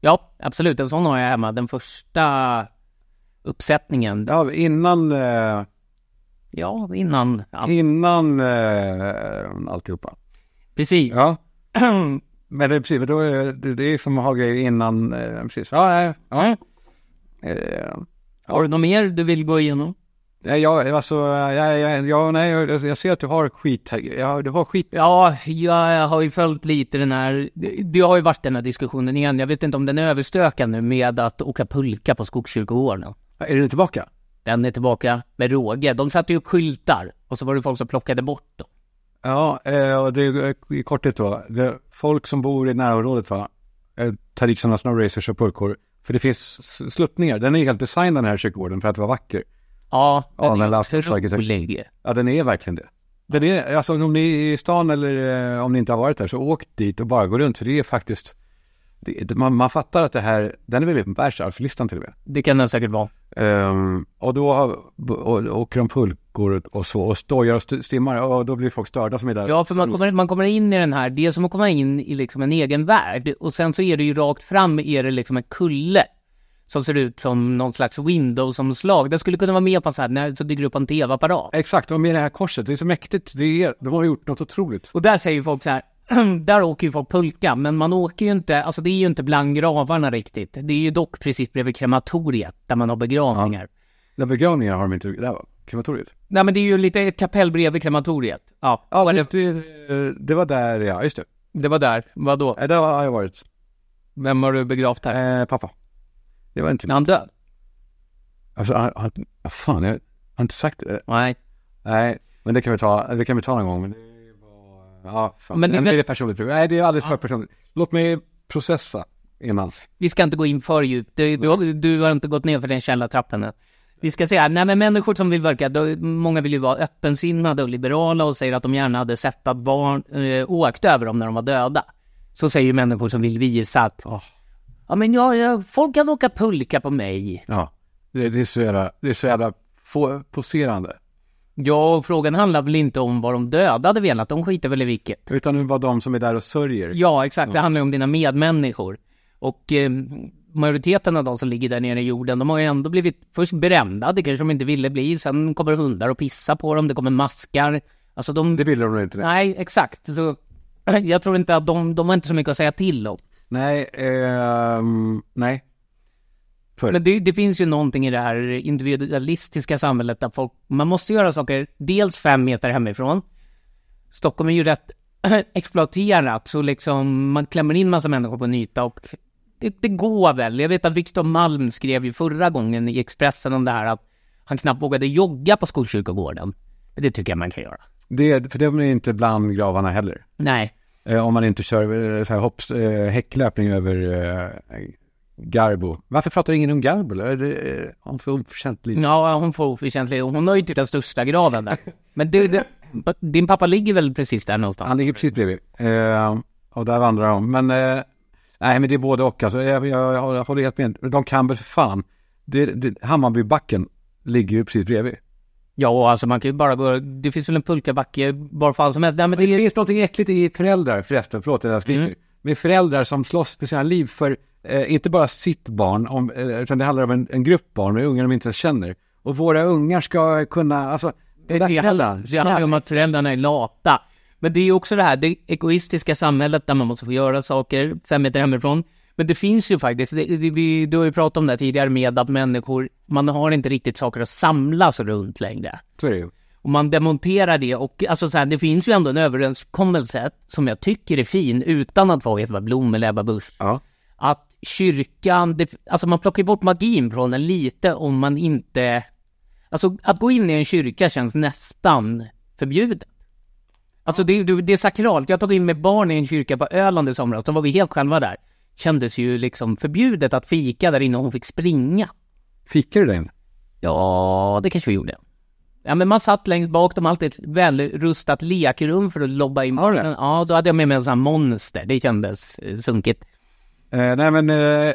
Speaker 1: Ja, absolut. En sån har jag hemma. Den första uppsättningen.
Speaker 2: Ja, innan, eh,
Speaker 1: Ja, innan. Ja,
Speaker 2: innan eh, alltihopa.
Speaker 1: precis. [clears throat]
Speaker 2: Ja, men det är precis, för då är det, det är som att ha grejer innan, eh, precis. Ja, nej, ja.
Speaker 1: Mm.
Speaker 2: Eh,
Speaker 1: Har du något mer du vill gå igenom?
Speaker 2: nej, jag, alltså, jag, jag, jag, nej, jag, jag ser att du har skit här. Ja, du har skit.
Speaker 1: Ja, jag har ju följt lite den här... det- Det har ju varit den här diskussionen igen. Jag vet inte om den är överstökad nu med att åka pulka på Skogskyrkogården.
Speaker 2: Är den tillbaka?
Speaker 1: Den är tillbaka med råge. De satte ju upp skyltar och så var det folk som plockade bort dem.
Speaker 2: Ja, eh, och det är i korthet då. Det, folk som bor i närområdet va, eh, tar dit sådana snowracers och pulkor. För det finns s- sluttningar. Den är helt designad den här kyrkogården för att vara vacker.
Speaker 1: Ja,
Speaker 2: Ja, den
Speaker 1: är
Speaker 2: lastbilsarkitekten.
Speaker 1: otrolig.
Speaker 2: Ja, den är verkligen det. Den är, alltså om ni är i stan eller eh, om ni inte har varit där så åk dit och bara gå runt. För det är faktiskt, det, det- man, man fattar att det här, den är väl med på världsarvslistan till och med.
Speaker 1: Det kan den säkert vara.
Speaker 2: Ehm, och då har, och, åker de pulkor och så och stojar och st- stimmar och då blir folk störda som är där.
Speaker 1: Ja, för man kommer, man kommer in i den här, det är som att komma in i liksom en egen värld. Och sen så är det ju rakt fram är det liksom en kulle som ser ut som någon slags Windows-omslag. Den skulle kunna vara med på en sån här, när så dyker det upp en tv-apparat.
Speaker 2: Exakt, och med det här korset, det är så mäktigt. Det är, de har gjort något otroligt.
Speaker 1: Och där säger ju folk så här, [clears throat] där åker ju folk pulka, men man åker ju inte, alltså det är ju inte bland gravarna riktigt. Det är ju dock precis bredvid krematoriet där man har begravningar.
Speaker 2: Där begravningar har de inte, där var krematoriet.
Speaker 1: Nej men det är ju lite ett kapell bredvid krematoriet. Ja,
Speaker 2: Ja, det, det, det var där, ja, just det.
Speaker 1: det var där. Vadå?
Speaker 2: Eh, Där har jag varit.
Speaker 1: Vem har du begravt där?
Speaker 2: Eh, pappa. Det var inte...
Speaker 1: Är han död?
Speaker 2: Alltså, han, han, ah, fan, jag har inte sagt det.
Speaker 1: Nej.
Speaker 2: Nej, men det kan vi ta, det kan vi ta någon gång. Men det var... Ja, fan.
Speaker 1: Men
Speaker 2: Men
Speaker 1: det-
Speaker 2: det, är det personligt. Nej, det är alldeles för personligt. Låt mig processa innan.
Speaker 1: Vi ska inte gå in för djupt. Du, du, du har inte gått ner för den källartrappan än. Vi ska säga, nej men människor som vill verka, då, många vill ju vara öppensinnade och liberala och säger att de gärna hade sett att barn eh, åkt över dem när de var döda. Så säger ju människor som vill visa att, ja men jag, jag, folk kan åka pulka på mig.
Speaker 2: Ja, det, det är så jävla, det är så jävla få, poserande.
Speaker 1: Ja, och frågan handlar väl inte om vad de döda hade velat, de skiter väl i vilket.
Speaker 2: Utan det var de som är där och sörjer.
Speaker 1: Ja, exakt. Det handlar ju om dina medmänniskor. Och eh, majoriteten av de som ligger där nere i jorden, de har ju ändå blivit först brända, det kanske de inte ville bli. Sen kommer hundar och pissar på dem, det kommer maskar. Alltså de...
Speaker 2: Det vill de inte.
Speaker 1: Nej, exakt. Så, [clears throat] jag tror inte att de, de har inte så mycket att säga till om.
Speaker 2: Nej, ehm, nej. För,
Speaker 1: Men det, det finns ju någonting i det här individualistiska samhället där folk, man måste göra saker dels fem meter hemifrån. [clears throat] Stockholm är ju rätt exploaterat så liksom man klämmer in massa människor på en yta och det, det går väl. Jag vet att Viktor Malm skrev ju förra gången i Expressen om det här att han knappt vågade jogga på skolkyrkogården. Det tycker jag man kan göra.
Speaker 2: Det, för det är inte bland gravarna heller.
Speaker 1: Nej.
Speaker 2: Eh, om man inte kör eh, så här hopps, eh, häcklöpning över eh, Garbo. Varför pratar ingen om Garbo? Är det, hon får oförtjänt lite.
Speaker 1: Ja, hon får oförtjäntlig. Hon har ju typ den största graven där. Men du, det, din pappa ligger väl precis där någonstans?
Speaker 2: Han ligger precis bredvid. Eh, och där vandrar de. Men eh, nej, men det är både och alltså. Jag, jag, jag, jag håller helt med. De kan väl för fan. Det, det, Hammarbybacken ligger ju precis bredvid.
Speaker 1: Ja, alltså man kan ju bara gå... Det finns väl en pulkabacke var fan som helst. Nej, men
Speaker 2: Men det finns något äckligt i föräldrar förresten, förlåt att jag skriver.
Speaker 1: Mm.
Speaker 2: Med föräldrar som slåss för sina liv för, eh, inte bara sitt barn, om, eh, utan det handlar om en, en grupp barn med ungar de inte ens känner. Och våra ungar ska kunna, alltså,
Speaker 1: Det, det, handlar- det handlar ju om att föräldrarna är lata. Men det är ju också det här det egoistiska samhället där man måste få göra saker fem meter hemifrån. Men det finns ju faktiskt, det, det, vi, du har ju pratat om det här tidigare med att människor, man har inte riktigt saker att samlas runt längre.
Speaker 2: Så är det ju.
Speaker 1: Och man demonterar det och alltså så här, det finns ju ändå en överenskommelse som jag tycker är fin utan att vara Edvard Blom eller Ebba Busch.
Speaker 2: Ja.
Speaker 1: Att kyrkan, det, alltså man plockar ju bort magin från den lite om man inte... Alltså att gå in i en kyrka känns nästan förbjudet. Alltså det, det, det är sakralt. Jag tog in med barn i en kyrka på Öland i somras, så var vi helt själva där. Kändes ju liksom förbjudet att fika där inne, hon fick springa.
Speaker 2: Fikar du den?
Speaker 1: Ja, det kanske vi gjorde. Ja, men man satt längst bak, de har alltid ett välrustat lekrum för att lobba in
Speaker 2: Har du det?
Speaker 1: barnen. Ja, då hade jag med mig en sån här monster. Det kändes eh, sunkigt.
Speaker 2: Eh, nej men, eh,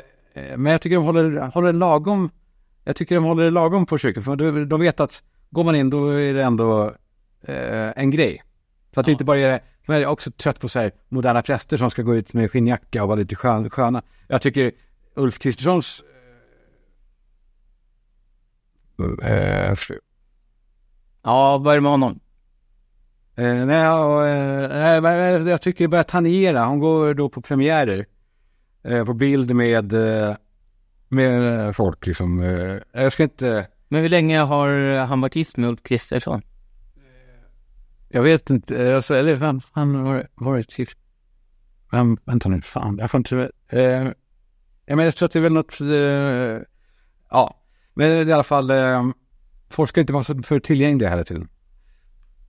Speaker 2: men jag tycker de håller, håller lagom, jag tycker de håller lagom på kyrkan, för de, de vet att går man in då är det ändå eh, en grej. Så att det inte bara är, men jag är också trött på så här moderna präster som ska gå ut med skinnjacka och vara lite skön, sköna. Jag tycker Ulf Kristerssons eh, fru.
Speaker 1: Ja, vad är det med honom?
Speaker 2: Eh, nej, jag, eh, nej, jag tycker det börjar tangera. Hon går då på premiärer. Eh, på bild med, eh, med eh, folk liksom. Eh, jag ska inte...
Speaker 1: Men hur länge har han varit gift med Ulf Kristersson?
Speaker 2: Jag vet inte. eh, Alltså, eller vem fan har det varit gift? Vem, vänta nu, fan. Jag får inte... Eh, jag menar, jag tror att det är väl något... Eh, ja. Men i alla fall, eh, folk ska inte vara så för tillgängliga hela tiden.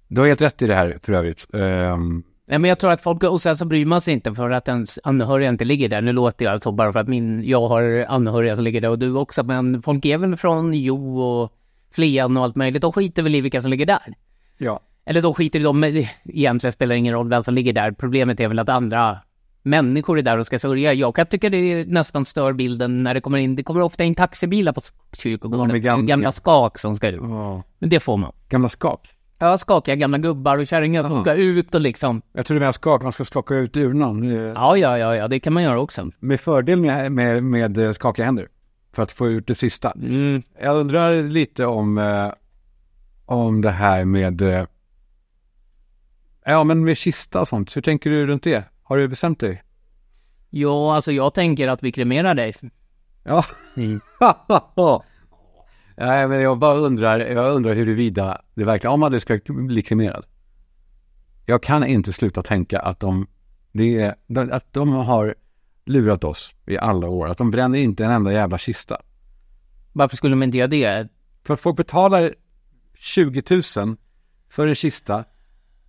Speaker 2: Du har helt rätt i det här för övrigt. Ehm,
Speaker 1: Nej, men jag tror att folk, och sen så bryr man sig inte för att ens anhöriga inte ligger där. Nu låter jag så bara för att min, jag har anhöriga som ligger där och du också, men folk är väl från Jo och Flen och allt möjligt. De skiter väl i vilka som ligger där.
Speaker 2: ja.
Speaker 1: Eller de skiter i dem, men egentligen spelar det ingen roll vem som ligger där. Problemet är väl att andra människor är där och ska sörja. Jag kan tycka det nästan stör bilden när det kommer in. Det kommer ofta in taxibilar på kyrkogården.
Speaker 2: De är gamla.
Speaker 1: gamla skak som ska ut.
Speaker 2: Ja.
Speaker 1: Men det får man.
Speaker 2: Gamla skak.
Speaker 1: Ja, skakiga gamla gubbar och kärringar som
Speaker 2: Ja.
Speaker 1: ska ut och liksom.
Speaker 2: Jag tror det menar skak, man ska skaka ut urnan. eh,
Speaker 1: Ja, ja, ja, ja, det kan man göra också.
Speaker 2: Med fördel med, med, med eh, skakiga händer. För att få ut det sista.
Speaker 1: Mm.
Speaker 2: Jag undrar lite om, eh, om det här med, eh, ja men med kista och sånt. Hur tänker du runt det? Har du bestämt dig?
Speaker 1: Ja, alltså jag tänker att vi kremerar dig.
Speaker 2: Ja.
Speaker 1: Mm.
Speaker 2: [laughs] Nej men jag bara undrar, jag undrar huruvida det verkligen, om man nu ska bli kremerad. Jag kan inte sluta tänka att de, det är, att de har lurat oss i alla år. Att de bränner inte en enda jävla kista.
Speaker 1: Varför skulle de inte göra det?
Speaker 2: För att folk betalar 20 000 för en kista.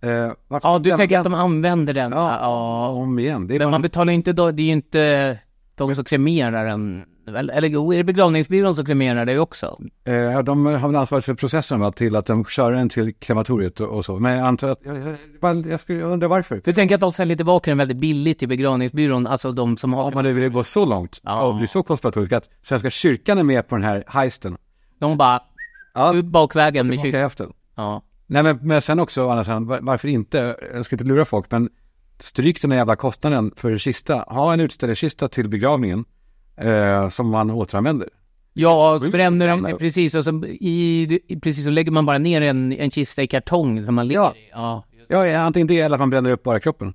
Speaker 2: Eh, varför
Speaker 1: Ja, du
Speaker 2: den-
Speaker 1: tänker att de använder den?
Speaker 2: Ja, ja, om igen. Det är
Speaker 1: Men
Speaker 2: bara...
Speaker 1: man betalar inte, då- det är ju inte de som kremerar en. väl? Eller jo, är det begravningsbyrån som kremerar dig också?
Speaker 2: eh, de har väl ansvaret för processen va? till att de kör den till krematoriet och, och så. Men jag antar att, jag, jag, bara- jag, skulle, jag undrar varför.
Speaker 1: Du tänker att de säljer tillbaka den väldigt billigt till begravningsbyrån, alltså de som har...
Speaker 2: Om man nu vill gå så långt
Speaker 1: Ja.
Speaker 2: och bli så konspiratorisk att Svenska kyrkan är med på den här heisten.
Speaker 1: De bara,
Speaker 2: Ja.
Speaker 1: ut bakvägen med
Speaker 2: Tillbaka
Speaker 1: kyck.
Speaker 2: i häften.
Speaker 1: Ja.
Speaker 2: Nej men, men sen också, å andra sidan, var- varför inte? Jag ska inte lura folk, men stryk den här jävla kostnaden för en kista. Ha en utställningskista till begravningen eh, som man återanvänder.
Speaker 1: Ja,
Speaker 2: sjukt.
Speaker 1: bränner
Speaker 2: Ja.
Speaker 1: den, precis, och så, i, i- precis, så lägger man bara ner en, en kista i kartong som man ligger
Speaker 2: Ja.
Speaker 1: i. Ja.
Speaker 2: Ja, ja, antingen det eller att man bränner upp bara kroppen.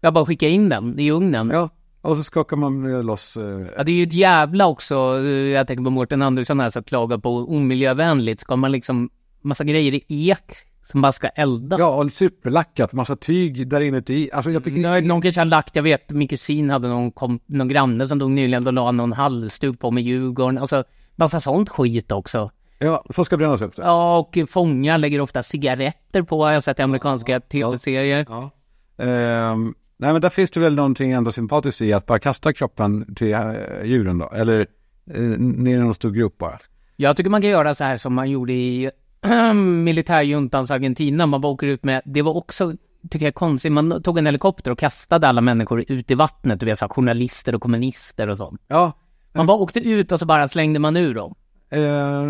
Speaker 1: Jag bara skickar in den i ugnen.
Speaker 2: Ja, och så skakar man eh, loss. Eh,
Speaker 1: Ja, det är ju ett jävla också, eh, jag tänker på Mårten Andersson här som klagar på omiljövänligt. Ska man liksom massa grejer i ek Som bara ska elda.
Speaker 2: Ja, och superlackat, massa tyg där inuti. Alltså jag tycker...
Speaker 1: Nå- Mm, Någon kanske har lagt, jag vet min kusin hade någon, kom, någon granne som dog nyligen, då la någon halsduk på med Djurgården. Alltså, massa sånt skit också.
Speaker 2: Ja, som ska brännas upp. Ja.
Speaker 1: Ja, och fångar lägger ofta cigaretter på, har jag sett i amerikanska tv-serier.
Speaker 2: ja. Ehm, nej, men där finns det väl någonting ändå sympatiskt i att bara kasta kroppen till eh, djuren då. Eller eh, ner i någon stor grop bara.
Speaker 1: Jag tycker man kan göra så här som man gjorde i [clears throat] militärjuntans Argentina. Man bara åker ut med, det var också, tycker jag, konstigt. Man tog en helikopter och kastade alla människor ut i vattnet. Du vet, så här, journalister och kommunister och sånt.
Speaker 2: Ja,
Speaker 1: Man bara åkte ut och så bara slängde man ur dem.
Speaker 2: eh,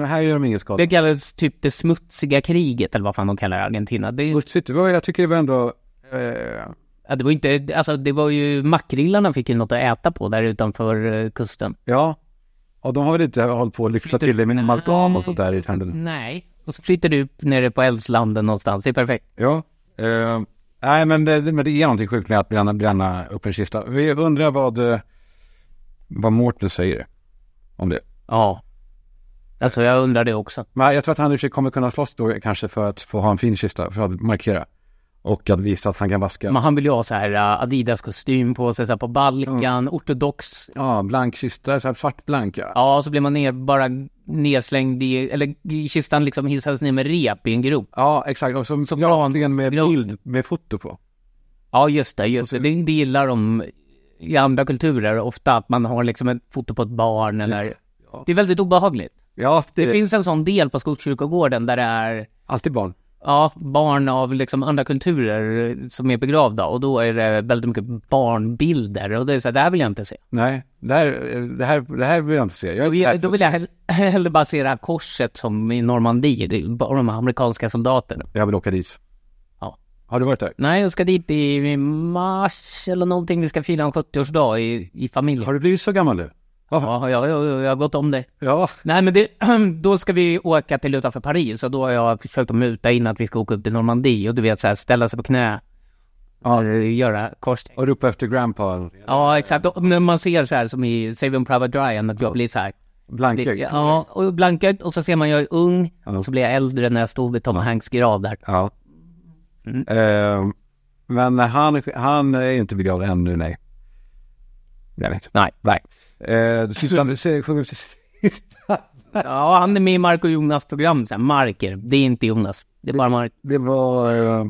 Speaker 2: här gör de ingen skada.
Speaker 1: Det kallades typ det smutsiga kriget, eller vad fan de kallar Argentina. Det,
Speaker 2: Smutsigt, det var, jag tycker det var ändå... Eh,
Speaker 1: ja, det var inte, alltså det var ju, makrillarna fick ju något att äta på där utanför eh, kusten.
Speaker 2: ja. Och de har väl inte hållit på att lyfta till det med amalgam och sånt där i tänderna.
Speaker 1: Nej. Och så flyttar du upp nere på Älvslanden någonstans, det är perfekt.
Speaker 2: Ja. Eh, nej, men det, det- men det är någonting sjukt med att bränna, bränna upp en kista. Vi undrar vad, eh, vad Mårten säger om det.
Speaker 1: Ja. Alltså jag undrar det också.
Speaker 2: Men jag tror att han i och för sig kommer kunna slåss då kanske för att få ha en fin kista, för att markera. Och att visa att han kan vaska.
Speaker 1: Men han vill ju ha så här eh, Adidas-kostym på sig, så här på Balkan, ortodox.
Speaker 2: ja, blank kista, så här svart blank ja.
Speaker 1: Ja, så blir man ner, bara nedslängd i, eller i kistan liksom hissades ner med rep i en grop.
Speaker 2: Ja, exakt. Och så, som gransten med
Speaker 1: gran-
Speaker 2: bild, med foto på.
Speaker 1: Ja, just det, just det. Det, det gillar de i andra kulturer ofta, att man har liksom ett foto på ett barn eller... Det är väldigt obehagligt.
Speaker 2: Ja, det,
Speaker 1: Det,
Speaker 2: är
Speaker 1: finns en sån del på Skogskyrkogården där det är
Speaker 2: alltid barn.
Speaker 1: Ja, barn av liksom andra kulturer eh, som är begravda och då är det väldigt mycket barnbilder och det är så här, det här vill jag inte se.
Speaker 2: Nej, det här, det här, det här vill jag inte se. Jag
Speaker 1: Då,
Speaker 2: är inte här
Speaker 1: jag, då
Speaker 2: för-
Speaker 1: vill jag hell- hellre bara se det här korset som i Normandie, det är ju bara de här amerikanska soldaterna.
Speaker 2: jag vill åka dit.
Speaker 1: Ja.
Speaker 2: Har du varit där?
Speaker 1: Nej, jag ska dit i mars eller någonting, vi ska fira en 70-årsdag i, i familjen.
Speaker 2: Har du blivit så gammal nu?
Speaker 1: Ja, jag, jag, jag har gått om det.
Speaker 2: Ja,
Speaker 1: Nej men det, [clears throat] då ska vi åka till utanför Paris och då har jag försökt att muta in att vi ska åka upp till Normandie och du vet så här, ställa sig på knä.
Speaker 2: Ja.
Speaker 1: Ja. Göra korsteg.
Speaker 2: och ropa efter grandpa. eller någonting.
Speaker 1: Ja, exakt. Och när man ser så här som i Saving Private Ryan, att jag blir så här.
Speaker 2: Blankögd.
Speaker 1: Ja, och blankögd. Och så ser man, jag är ung.
Speaker 2: Ja.
Speaker 1: Och så blir jag äldre när jag stod vid Tom Hanks grav där.
Speaker 2: Ja. Eh, men han, han är inte begravd ännu, nej. Jag vet.
Speaker 1: Nej.
Speaker 2: Nej. Eh, [laughs] sista, se- sjung- sista.
Speaker 1: Ja, han är med i Mark och Jonas program sen. Marker. Det är inte Jonas. Det är bara Mark.
Speaker 2: det var, eh,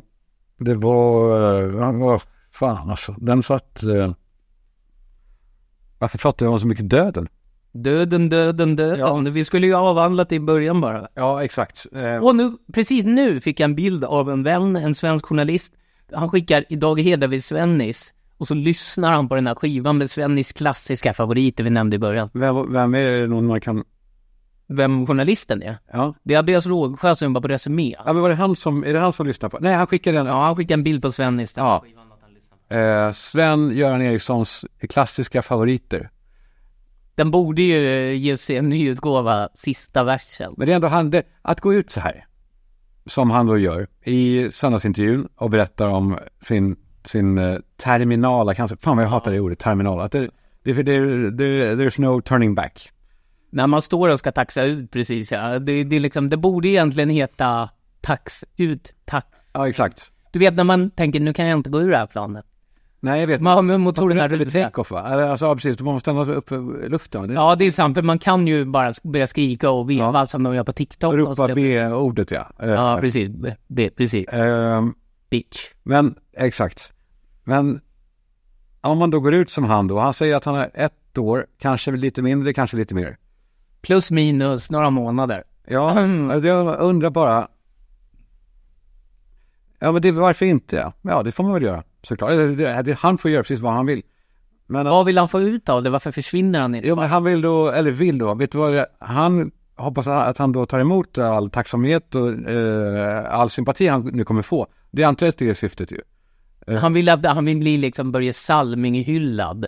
Speaker 2: det var, eh, han var, fan alltså, den satt, eh, varför pratar vi om så mycket döden?
Speaker 1: Döden, döden, döden. Vi skulle ju ha avhandlat det i början bara.
Speaker 2: Ja, exakt. Eh,
Speaker 1: Och nu, precis nu fick jag en bild av en vän, en svensk journalist. Han skickar Idag hedrar vi Svennis. Och så lyssnar han på den här skivan med Svennis klassiska favoriter vi nämnde i början.
Speaker 2: vem, vem är det någon man kan,
Speaker 1: Vem journalisten är?
Speaker 2: ja.
Speaker 1: Det är Andreas Rågsjö som jobbar på Resumé.
Speaker 2: ja, men var det han som, är det han som lyssnar på? Nej, han skickade den,
Speaker 1: Ja, han skickade en bild på Svennis. där.
Speaker 2: Ja. Eh, Sven-Göran Erikssons klassiska favoriter.
Speaker 1: Den borde ju eh, ge sig en nyutgåva, sista versen.
Speaker 2: Men det är ändå han, det, att gå ut så här, som han då gör i söndagsintervjun och berättar om sin, sin eh, terminala cancer. Fan vad jag hatar det ordet, terminala. Att det, det, det, det, det, there's no turning back.
Speaker 1: När man står och ska taxa ut precis, ja. Det, det, är liksom, det borde egentligen heta tax ut, tax.
Speaker 2: Ja, exakt.
Speaker 1: Du vet när man tänker, nu kan jag inte gå ur det här planet.
Speaker 2: Nej, jag vet.
Speaker 1: Man har med
Speaker 2: Fast det
Speaker 1: motorerna
Speaker 2: är vid
Speaker 1: rusa.
Speaker 2: take-off va? Eller, Alltså ja, precis, man måste stanna upp i luften. Ja.
Speaker 1: Ja, det är sant. För man kan ju bara sk- börja skrika och veva som de gör på TikTok. och så
Speaker 2: Ropa
Speaker 1: det-
Speaker 2: B-ordet ja. Eh,
Speaker 1: Ja, precis. B, B, precis.
Speaker 2: ehm,
Speaker 1: Bitch.
Speaker 2: Men, exakt. Men om man då går ut som han då, han säger att han är ett år, kanske lite mindre, kanske lite mer.
Speaker 1: Plus minus några månader.
Speaker 2: Ja, jag undrar bara. Ja, men det, varför inte? Ja, det får man väl göra, såklart. Eller, det- det- Han får göra precis vad han vill. Men,
Speaker 1: Vad vill han få ut av det? Varför försvinner han inte?
Speaker 2: ja, men han vill då, eller vill då, vet du vad, det- han hoppas att han då tar emot all tacksamhet och eh, all sympati han nu kommer få. Det är antar att det är syftet ju.
Speaker 1: Han vill, att, han vill bli liksom Börje Salming-hyllad.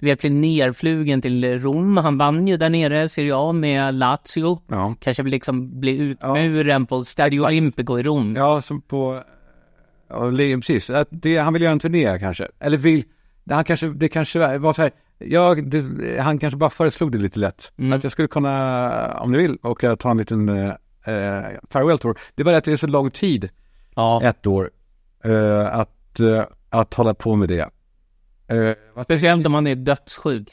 Speaker 1: Du vet, bli nerflugen till Rom. Han vann ju där nere, Serie A med Lazio.
Speaker 2: Ja.
Speaker 1: Kanske vill liksom bli utmuren på Stadio Olimpico i Rom.
Speaker 2: Ja, som på... Ja, le- precis. Att det, han vill göra en turné kanske. Eller vill... det- Han kanske, det kanske var så här... Ja, det, han kanske bara föreslog det lite lätt. Att jag skulle kunna, om du vill, åka och ta en liten eh, eh, farewell tour. Det är bara att det är så lång tid.
Speaker 1: Ja.
Speaker 2: ett år, eh, att, eh, att hålla på med det. Eh, vad-
Speaker 1: Speciellt om han är dödssjuk.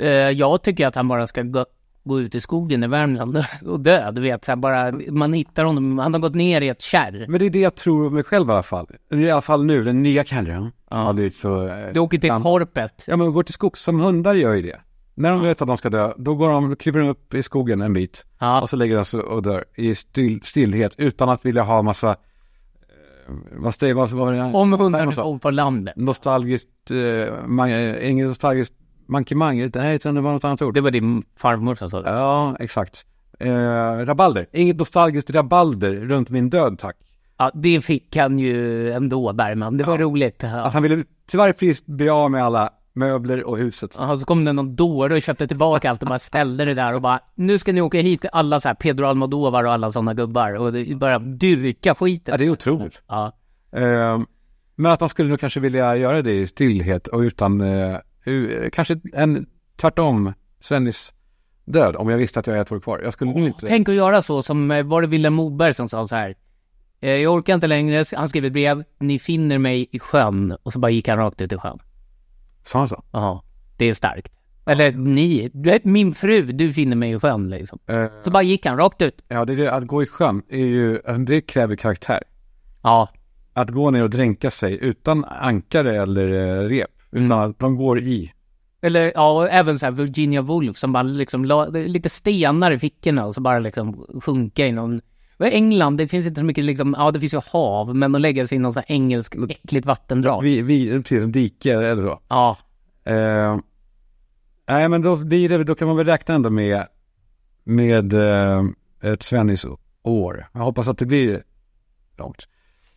Speaker 1: Eh, jag tycker att han bara ska gå, gå ut i skogen i Värmland [laughs] och dö. Du vet, så här bara, man hittar honom, han har gått ner i ett kärr.
Speaker 2: men det är det jag tror om mig själv i alla fall. I alla fall nu, den nya Calderon. Ja. Har blivit så... eh,
Speaker 1: Du åker till torpet.
Speaker 2: Ja, men går till skogs som hundar gör ju det. När de vet att de ska dö, då går de, kryper de upp i skogen en bit
Speaker 1: Ja.
Speaker 2: och så lägger de sig och dör i still, stillhet utan att vilja ha massa, eh, vad säger vad var det?
Speaker 1: Om hundarna
Speaker 2: Nej, så-
Speaker 1: bor på landet.
Speaker 2: Nostalgiskt, eh, man, eh, inget nostalgiskt mankemang, nej, utan det var något annat ord.
Speaker 1: Det var din farmor som sa det.
Speaker 2: Ja, exakt. Eh, rabalder, inget nostalgiskt rabalder runt min död tack.
Speaker 1: Ja, det fick han ju ändå, Bergman. Det var roligt.
Speaker 2: Att han ville till varje pris bli av med alla möbler och huset.
Speaker 1: Ja, så kom det någon dåre och köpte tillbaka allt och bara ställde det där och bara Nu ska ni åka hit alla så här Pedro Almodovar och alla sådana gubbar och det- bara dyrka
Speaker 2: Ja,
Speaker 1: skiten.
Speaker 2: det är otroligt.
Speaker 1: Ja.
Speaker 2: Ehm, Men att man skulle nog kanske vilja göra det i stillhet och utan, eh, u- kanske en tvärtom, Svennis död, om jag visste att jag är ett år kvar. Jag skulle nog inte...
Speaker 1: Tänk att göra så som, eh, var det Willem Moberg som sa så här "Eh, Jag orkar inte längre, han skrev ett brev, ni finner mig i sjön och så bara gick han rakt ut i sjön.
Speaker 2: Sa han så?
Speaker 1: Ja, det är starkt. Eller ni, du vet, min fru, du finner mig i sjön liksom.
Speaker 2: Eh,
Speaker 1: Så bara gick han rakt ut.
Speaker 2: Ja, det är det, att gå i sjön är ju, alltså, det kräver karaktär.
Speaker 1: Ja,
Speaker 2: Att gå ner och dränka sig utan ankare eller eh, rep, utan att de går i.
Speaker 1: Eller ja, och även så här Virginia Woolf som bara liksom la lite stenar i fickorna och så bara liksom sjunka i någon... Och i England, det finns inte så mycket liksom, ja det finns ju hav, men att lägga sig i någon sån här engelsk äckligt vattendrag.
Speaker 2: Vi, vi, precis, en dike eller så.
Speaker 1: Ja,
Speaker 2: Eh, nej, men då, blir det, då kan man väl räkna ändå med, med eh, ett Svennis-år. Jag hoppas att det blir långt.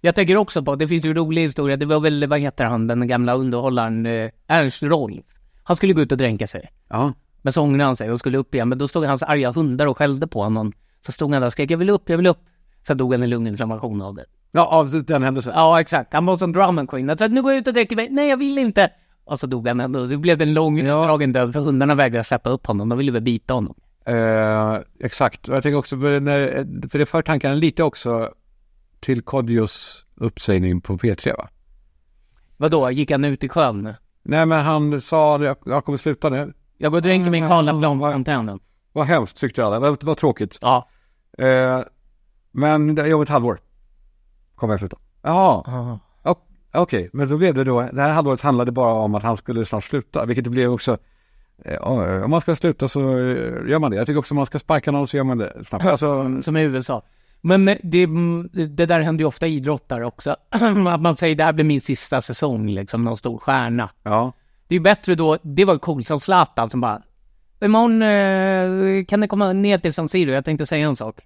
Speaker 1: jag tänker också på, det finns ju en rolig historia, det var väl, vad heter han, den gamla underhållaren eh, Ernst Rolf. Han skulle gå ut och dränka sig.
Speaker 2: Ja.
Speaker 1: Men så ångrade han sig och skulle upp igen, men då stod hans arga hundar och skällde på honom. Så stod han där och skrek 'Jag vill upp, jag vill upp' Sen dog han i lunginflammation av det.
Speaker 2: Ja, av den händelsen.
Speaker 1: Ja, exakt. Han var som drum and queen. Jag tror att nu går jag ut och dricker mig. Nej, jag vill inte. Och så dog han ändå. Det blev en lång, utdragen död för hundarna vägrade släppa upp honom. De ville väl bita honom.
Speaker 2: Eh, exakt. Och jag tänker också, på när, eh, för det för tankarna lite också till Kodjos uppsägning på P3 va?
Speaker 1: Vadå, gick han ut i sjön?
Speaker 2: Nej, men han sa, jag, jag kommer sluta nu.
Speaker 1: Jag går och dränker mig i Karlaplan på fontänen.
Speaker 2: Vad hemskt tyckte alla, vad, vad tråkigt.
Speaker 1: Ja.
Speaker 2: Eh, men det- om ett halvår kommer jag sluta. Jaha, Ja, Okej, men då blev det då, det här halvåret handlade bara om att han skulle snart sluta, vilket det blev också, eh, om man ska sluta så eh, gör man det. Jag tycker också om man ska sparka någon så gör man det snabbt. Alltså,
Speaker 1: Som i USA. Men eh, det, mm, det där händer ju ofta i idrottare också. [clears throat] Att man säger det här blir min sista säsong, liksom någon stor stjärna.
Speaker 2: ja.
Speaker 1: Det är ju bättre då, det var ju coolt som Zlatan som bara Imorgon eh, kan ni komma ner till San Siro, jag tänkte säga en sak.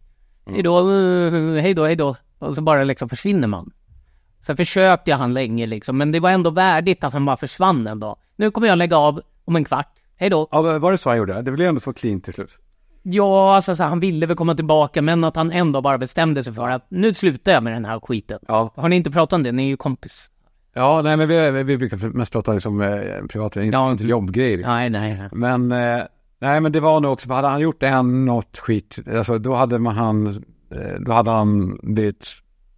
Speaker 1: Hejdå, eh, hejdå, hejdå. Och så bara liksom försvinner man. Sen försökte jag han länge liksom, men det var ändå värdigt att han bara försvann en dag. Nu kommer jag lägga av om en kvart. Hejdå.
Speaker 2: ja, var det så han gjorde? Det blev ändå för clean till slut.
Speaker 1: Ja, alltså så här, han ville väl komma tillbaka, men att han ändå bara bestämde sig för att nu slutar jag med den här skiten.
Speaker 2: Ja.
Speaker 1: Har ni inte pratat om det? Ni är ju kompis.
Speaker 2: Ja, nej men vi, vi brukar mest prata liksom eh, privat, inte,
Speaker 1: Ja.
Speaker 2: inte jobbgrejer. liksom.
Speaker 1: Nej, nej, nej.
Speaker 2: Men, eh, nej men det var nog också, för hade han gjort en något skit, alltså då hade man han, eh, då hade han blivit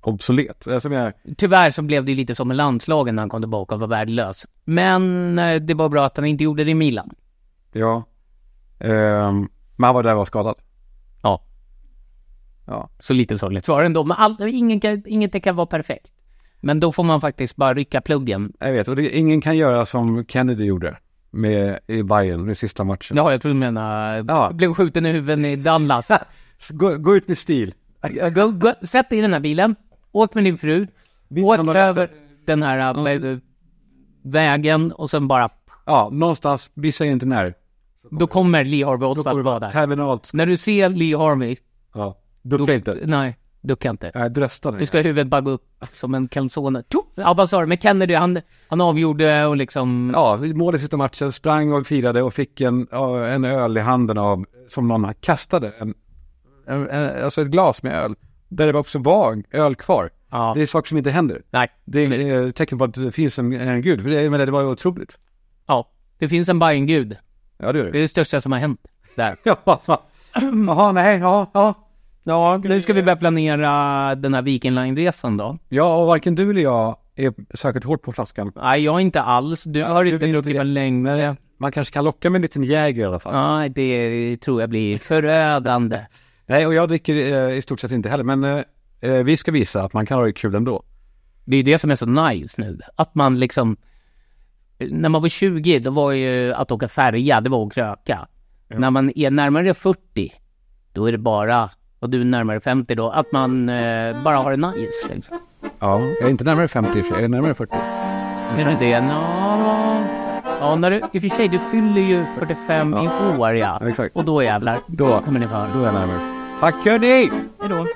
Speaker 2: obsolet. Alltså, men, jag-
Speaker 1: Tyvärr så blev det ju lite som med landslagen när han kom tillbaka och var värdelös. Men eh, det var bra att han inte gjorde det i Milan.
Speaker 2: ja. Ehm, men han var där och var skadad.
Speaker 1: Ja.
Speaker 2: Ja.
Speaker 1: Så lite sorgligt svar ändå. Men all, ingen kan, inget kan vara perfekt. Men då får man faktiskt bara rycka pluggen.
Speaker 2: Jag vet, och det, ingen kan göra som Kennedy gjorde med, i Bayern i sista matchen.
Speaker 1: Ja, jag tror du menar...
Speaker 2: Ja.
Speaker 1: Blev skjuten i huvudet i Dallas.
Speaker 2: Så Gå, gå ut med stil.
Speaker 1: Gå- gå- Sätt dig i den här bilen. Åk med din fru.
Speaker 2: Vi
Speaker 1: åk
Speaker 2: kan hålla
Speaker 1: över den här eh, vägen och sen bara...
Speaker 2: Ja, någonstans, vi säger inte när.
Speaker 1: Då kommer Lee Harvey Oswald vara där.
Speaker 2: Terminalt.
Speaker 1: När du ser Lee Harvey...
Speaker 2: Ja, ducka inte.
Speaker 1: Nej, ducka inte.
Speaker 2: Nej, drösta
Speaker 1: Du
Speaker 2: nu.
Speaker 1: ska i huvudet bara gå upp som en calzone. Tjo! Ja, vad sa du? Men Kennedy, han, han avgjorde och liksom...
Speaker 2: Ja, vi mål i sista matchen, sprang och firade och fick en, ja, en öl i handen av, som någon kastade, en, en, en, alltså ett glas med öl, där det också var öl kvar.
Speaker 1: Ja.
Speaker 2: Det är saker som inte händer.
Speaker 1: Nej.
Speaker 2: Det är eh, tecken på att det finns en, en gud, för det, men det var ju otroligt.
Speaker 1: Ja. Det finns en Bajen-gud.
Speaker 2: Ja, det gör det. [laughs] [clears throat]
Speaker 1: Det är det största som har hänt. Där.
Speaker 2: Ja, Jaha, nej, ja, ja.
Speaker 1: Ja, nu ska vi börja planera den här Viking Line-resan då.
Speaker 2: Ja, och varken du eller jag är särskilt hårt på flaskan.
Speaker 1: Nej, jag är inte alls. Du har inte
Speaker 2: vill
Speaker 1: druckit på länge.
Speaker 2: Nej, man kanske kan locka med en liten Jäger i alla fall.
Speaker 1: Nej, det tror jag blir förödande.
Speaker 2: Nej, och jag dricker eh, i stort sett inte heller, men eh, eh, vi ska visa att man kan ha det kul ändå.
Speaker 1: Det är ju det som är så nice nu. Att man liksom... När man var 20, då var ju att åka färja, det var att kröka. När man är närmare 40, då är det bara, och du är närmare 50 då, att man eh, bara har det nice. Liksom.
Speaker 2: Ja, jag är inte närmare 50 i och för sig, jag är närmare 40. Mm.
Speaker 1: Är det det? Nå, Ja, när du, i och för sig, du fyller ju 45 i år ja.
Speaker 2: Ja, exakt.
Speaker 1: Och då jävlar,
Speaker 2: Då-
Speaker 1: kommer ni få höra.
Speaker 2: Då är jag närmare. Tack hörni!
Speaker 1: Hejdå.